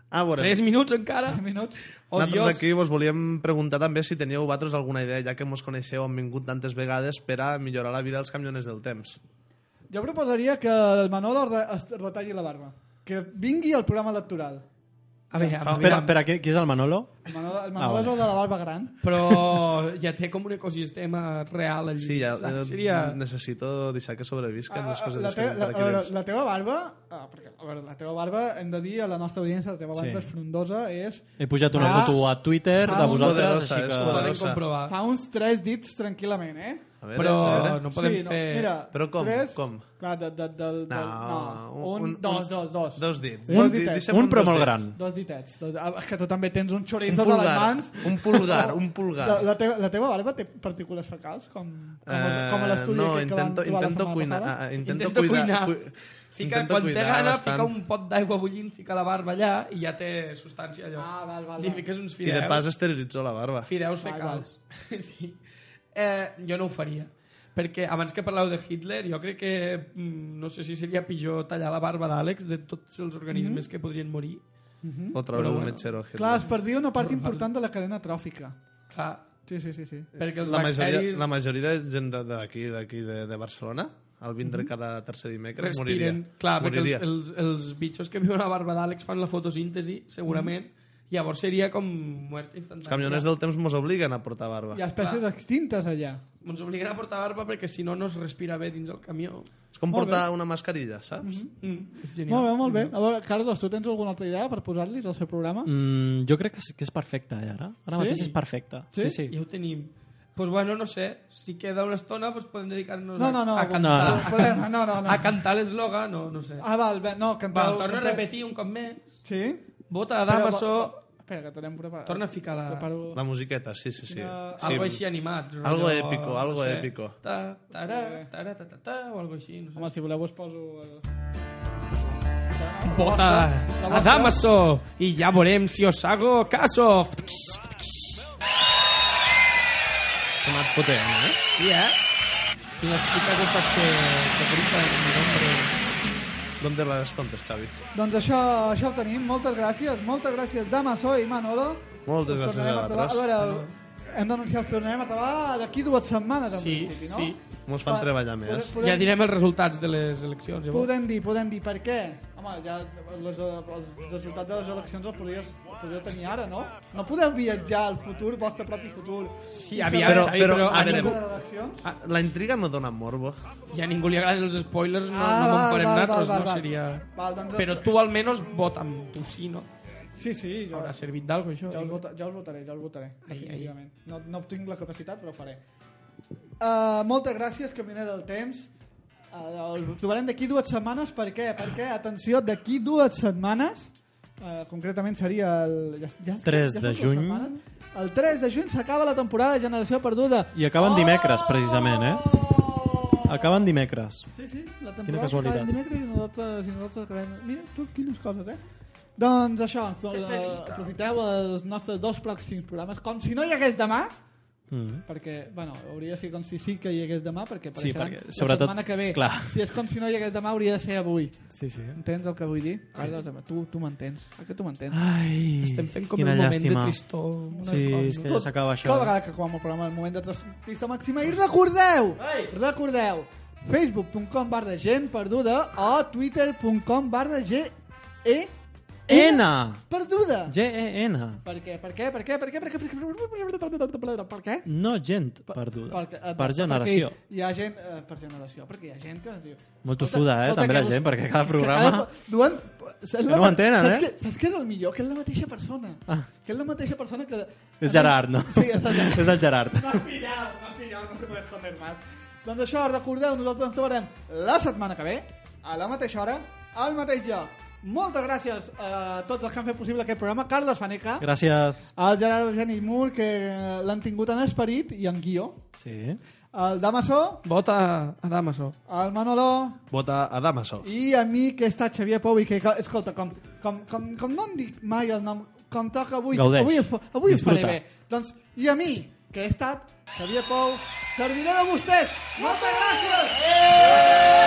S7: Ah, bueno.
S6: Tres minuts encara?
S1: Tres minuts.
S6: Oh,
S7: Nosaltres
S6: Dios.
S7: aquí vos volíem preguntar també si teníeu vosaltres alguna idea, ja que mos coneixeu, hem vingut tantes vegades per a millorar la vida dels camioners del temps.
S1: Jo proposaria que el Manolo es re- es retalli la barba. Que vingui al programa electoral.
S6: A veure, a
S2: Espera,
S6: veure.
S2: espera, qui, qui és el Manolo?
S1: El Manolo, el
S2: Ah,
S1: Manolo
S2: vale.
S1: és el de la barba gran.
S6: Però ja té com un ecosistema real allí.
S7: Sí, ja,
S6: saps?
S7: eh,
S6: Seria...
S7: necessito deixar que sobrevisquen les coses
S1: Ah, La,
S7: dels
S1: te, la,
S7: camioners del
S1: a veure,
S7: temps.
S1: la teva barba... Ah, perquè, a veure, la teva barba, hem de dir a la nostra audiència, la teva
S2: Sí.
S1: barba és frondosa, és...
S2: He pujat una
S1: Ah,
S2: foto a Twitter
S1: ah,
S2: de
S1: és
S2: vosaltres,
S7: poderosa,
S2: així
S7: és
S2: que...
S7: poderosa. Podem comprovar.
S1: Fa uns 3 dits tranquil·lament, eh?
S7: A veure, Però a veure. no podem
S1: sí, no,
S7: fer-
S1: Mira,
S7: Però com?
S1: Tres,
S7: Com?
S1: Clar, de, de, del, del, no, un,
S7: un-
S1: dos,
S7: un-
S1: dos, dos.
S7: dos dits.
S1: Dos
S7: Un-
S1: ditets.
S7: deixem Un un però dos molt dits. gran.
S1: Dos ditets. Dos, ah, és que tu també tens un chorizo
S7: Un
S1: a les
S7: pulgar,
S1: mans.
S7: un pulgar, un pulgar.
S1: La, la, teva, la teva barba té partícules fecals? Com, com, el- com a
S7: Eh,
S1: l'estudi
S7: no,
S1: aquest que
S7: intento-
S1: vam trobar
S7: intento
S1: la setmana
S7: cuinar,
S1: passada?
S7: ah, ah, intento
S6: Intento
S7: cuidar-
S6: cuinar.
S7: cu-
S6: Fica,
S7: intento
S6: quan té
S7: cuidar
S6: gana,
S7: bastant.
S6: fica un pot d'aigua bullint, fica la barba allà i ja té substància allò. Ah, val, val. Li fiques uns
S7: I
S6: fideus.
S7: de pas esterilitzó la barba.
S6: Fideus fecals. sí. Eh, jo no ho faria. Perquè abans que parleu de Hitler, jo crec que mm, no sé si seria pitjor tallar la barba d'Àlex de tots els organismes
S1: Mhm.
S6: que podrien morir.
S1: Mhm.
S7: O treure
S6: Però
S7: un
S6: bueno.
S7: metgero a Hitler.
S1: Clar, es perdia una part important de la cadena tròfica.
S6: Clar.
S1: Sí, sí, sí. sí.
S6: Perquè els
S7: Eh, la majoria,
S6: bacteris-
S7: la majoria de gent de- d'aquí d'aquí de, de Barcelona, al vindre
S6: Mhm.
S7: cada tercer dimecres,
S6: respiren...
S7: moriria.
S6: Clar, perquè
S7: moriria.
S6: els, els, els bitxos que viuen a la barba d'Àlex fan la fotosíntesi, segurament, Llavors seria com mort instantània.
S7: Els camioners del temps mos obliguen a portar barba.
S6: Hi ha espècies extintes allà. Ens obliguen a portar barba perquè si no no es respira bé dins el camió.
S7: És com
S6: Molt
S7: portar
S6: bé.
S7: una mascarilla, saps?
S6: Mm, és genial.
S1: Molt bé, molt bé. A veure, Carlos, tu tens alguna altra idea per posar-los al seu programa?
S2: Mm, jo crec que és, que és perfecte, eh, ara. Ara
S6: Sí?
S2: mateix és perfecte. Sí, sí.
S6: Ja ho tenim. Doncs pues bueno, no sé, si queda una estona pues podem dedicar-nos
S1: No,
S6: a-
S1: no, no,
S6: a,
S1: no,
S6: cantar,
S1: no,
S6: a,
S1: podem,
S6: can-
S1: no, no, no.
S6: a cantar l'eslògan, Ah, no, no sé.
S1: Ah, val, bé, no, canteu...
S6: Va, torna a
S1: canteu-
S6: repetir un cop més.
S1: Sí?
S6: Vota,
S1: Però,
S6: Damaso...
S1: va- Espera, que tenem preparat.
S6: Torna a ficar la-
S1: Preparo...
S7: La musiqueta, sí, sí, sí.
S6: Quina-
S7: sí.
S6: Algo així animat.
S7: Algo
S6: rotllo,
S7: épico, algo
S6: sé,
S7: épico.
S6: Ta, tara, tara, ta, ta, ta, o algo així. No sé.
S1: Home, si voleu us poso... eh,
S6: Vota
S1: La
S6: a
S1: vostra.
S6: Damaso i ja veurem si os hago caso.
S7: Sonat potent, eh?
S6: Sí, eh? I les xiques aquestes que, que griten mi nombre...
S7: D'on te les comptes, Xavi?
S1: Doncs això, això ho tenim. Moltes gràcies. Moltes gràcies, Damaso i Manolo.
S7: Moltes
S1: Us
S7: gràcies
S1: tornarem
S7: a
S1: acabar-
S7: vosaltres.
S1: A veure, hem d'anunciar que us tornarem a acabar d'aquí dues setmanes, en
S6: Sí,
S1: principi, no?
S6: sí.
S7: Mos fan
S1: Va,
S7: treballar
S1: podem-
S7: més.
S1: podem-
S6: Ja direm els resultats de les eleccions, llavors.
S1: Podem dir, podem dir, per què? Home, ja les, els resultats de les eleccions els podries, els podríeu tenir ara, no? No podeu viatjar al futur, al vostre propi futur.
S6: Sí,
S1: I
S6: aviam,
S1: saber-
S6: però, Xavi, però, a
S1: ningú-
S6: veure,
S1: les eleccions?
S7: Ah, La intriga me dona morbo.
S6: ja a ningú li agraden els spoilers,
S1: Ah,
S6: no, no
S1: val,
S6: me'n farem
S1: val,
S6: nosaltres,
S1: val,
S6: no
S1: val.
S6: seria...
S1: Val, doncs
S6: Però
S1: els-
S6: tu almenys vota amb tu sí, no?
S1: Sí, sí. Jo,
S6: Haurà servit d'algo, això?
S1: Ja us, vota, ja us votaré, ja us votaré, definitivament. No, no tinc la capacitat, però ho faré. Uh, moltes gràcies, Caminer del Temps. Uh, us trobarem d'aquí dues setmanes. Per què? Perquè, atenció, d'aquí dues setmanes, uh, concretament seria el... Ja, ja,
S2: 3
S1: ja són
S2: de
S1: dues
S2: juny.
S1: setmanes? El 3 de juny s'acaba la temporada de Generació Perduda.
S2: I acaben dimecres, precisament, eh? Acaben dimecres.
S1: Sí, sí, la
S2: Quina
S1: temporada s'acaba
S2: casualitat.
S1: dimecres i nosaltres, i nosaltres acabem... Mira, tu, quines coses, eh? Doncs això, doncs, eh,
S6: feliç.
S1: aprofiteu els nostres dos pròxims programes, com si no hi hagués demà,
S2: Mm.
S1: perquè, bueno, hauria de ser com si sí que hi hagués demà, perquè,
S2: Sí,
S1: apareixeran
S2: perquè,
S1: la
S2: sobretot,
S1: setmana que ve,
S2: clar.
S1: si és com si no hi hagués demà, hauria de ser avui.
S2: Sí, sí. Ah,
S1: Entens el que vull dir? Sí. tu, tu m'entens, eh, que tu m'entens.
S2: Ai,
S1: Estem fent com
S2: quina
S1: el moment
S2: llàstima.
S1: de tristor. unes
S2: Sí,
S1: coses.
S2: és que ja
S1: Tot-
S2: s'acaba això. eh?
S1: Cada vegada que acabem el programa, el moment de tristor màxima. I recordeu, recordeu, facebook.com barra gent perduda o twitter.com barra g e
S2: N! E,
S1: perduda.
S2: G-E-N.
S1: Per què? Per què? Per què? Per què? Per què? Per què? Per què?
S2: No gent perduda.
S1: Perquè, eh,
S2: Per
S1: perquè
S2: generació.
S1: Hi ha gent, eh, per generació, perquè hi ha gent que es diu...
S2: Molt
S1: Escolta,
S2: tossuda, eh,
S1: escolta,
S2: també la
S1: que
S2: gent,
S1: vos-
S2: perquè cada
S1: és que
S2: programa-
S1: cada- Duen... saps
S2: Que
S1: la
S2: no
S1: ma-
S2: m'entenen,
S1: saps
S2: eh?
S1: Que, saps què és el millor? Que és la mateixa persona.
S2: Ah.
S1: Que és la mateixa persona que...
S2: És Gerard, no?
S1: Sí, és el Gerard.
S2: És el Gerard.
S1: M'has pillat, m'has pillat, no puedes joder más. Doncs això, recordeu, nosaltres ens trobarem la setmana que ve, a la mateixa hora, al mateix lloc. Moltes gràcies eh, a tots els que han fet possible aquest programa. Carles Faneca.
S2: Gràcies.
S1: El Gerard Eugeni Mur, que eh, l'han tingut en esperit i en guió.
S2: Sí.
S1: El Damaso,
S6: Vota a Damaso.
S1: el Manolo
S7: Vota a Damaso.
S1: i a mi, que està Xavier Pou, i que, que- escolta, com, com, com, com no em dic mai el nom, com toca avui,
S2: Gaudeix.
S1: avui, es fa- avui es faré
S2: Disfruta.
S1: bé. Doncs, i a mi, que he estat Xavier Pou, servidor de vostès. Moltes gràcies!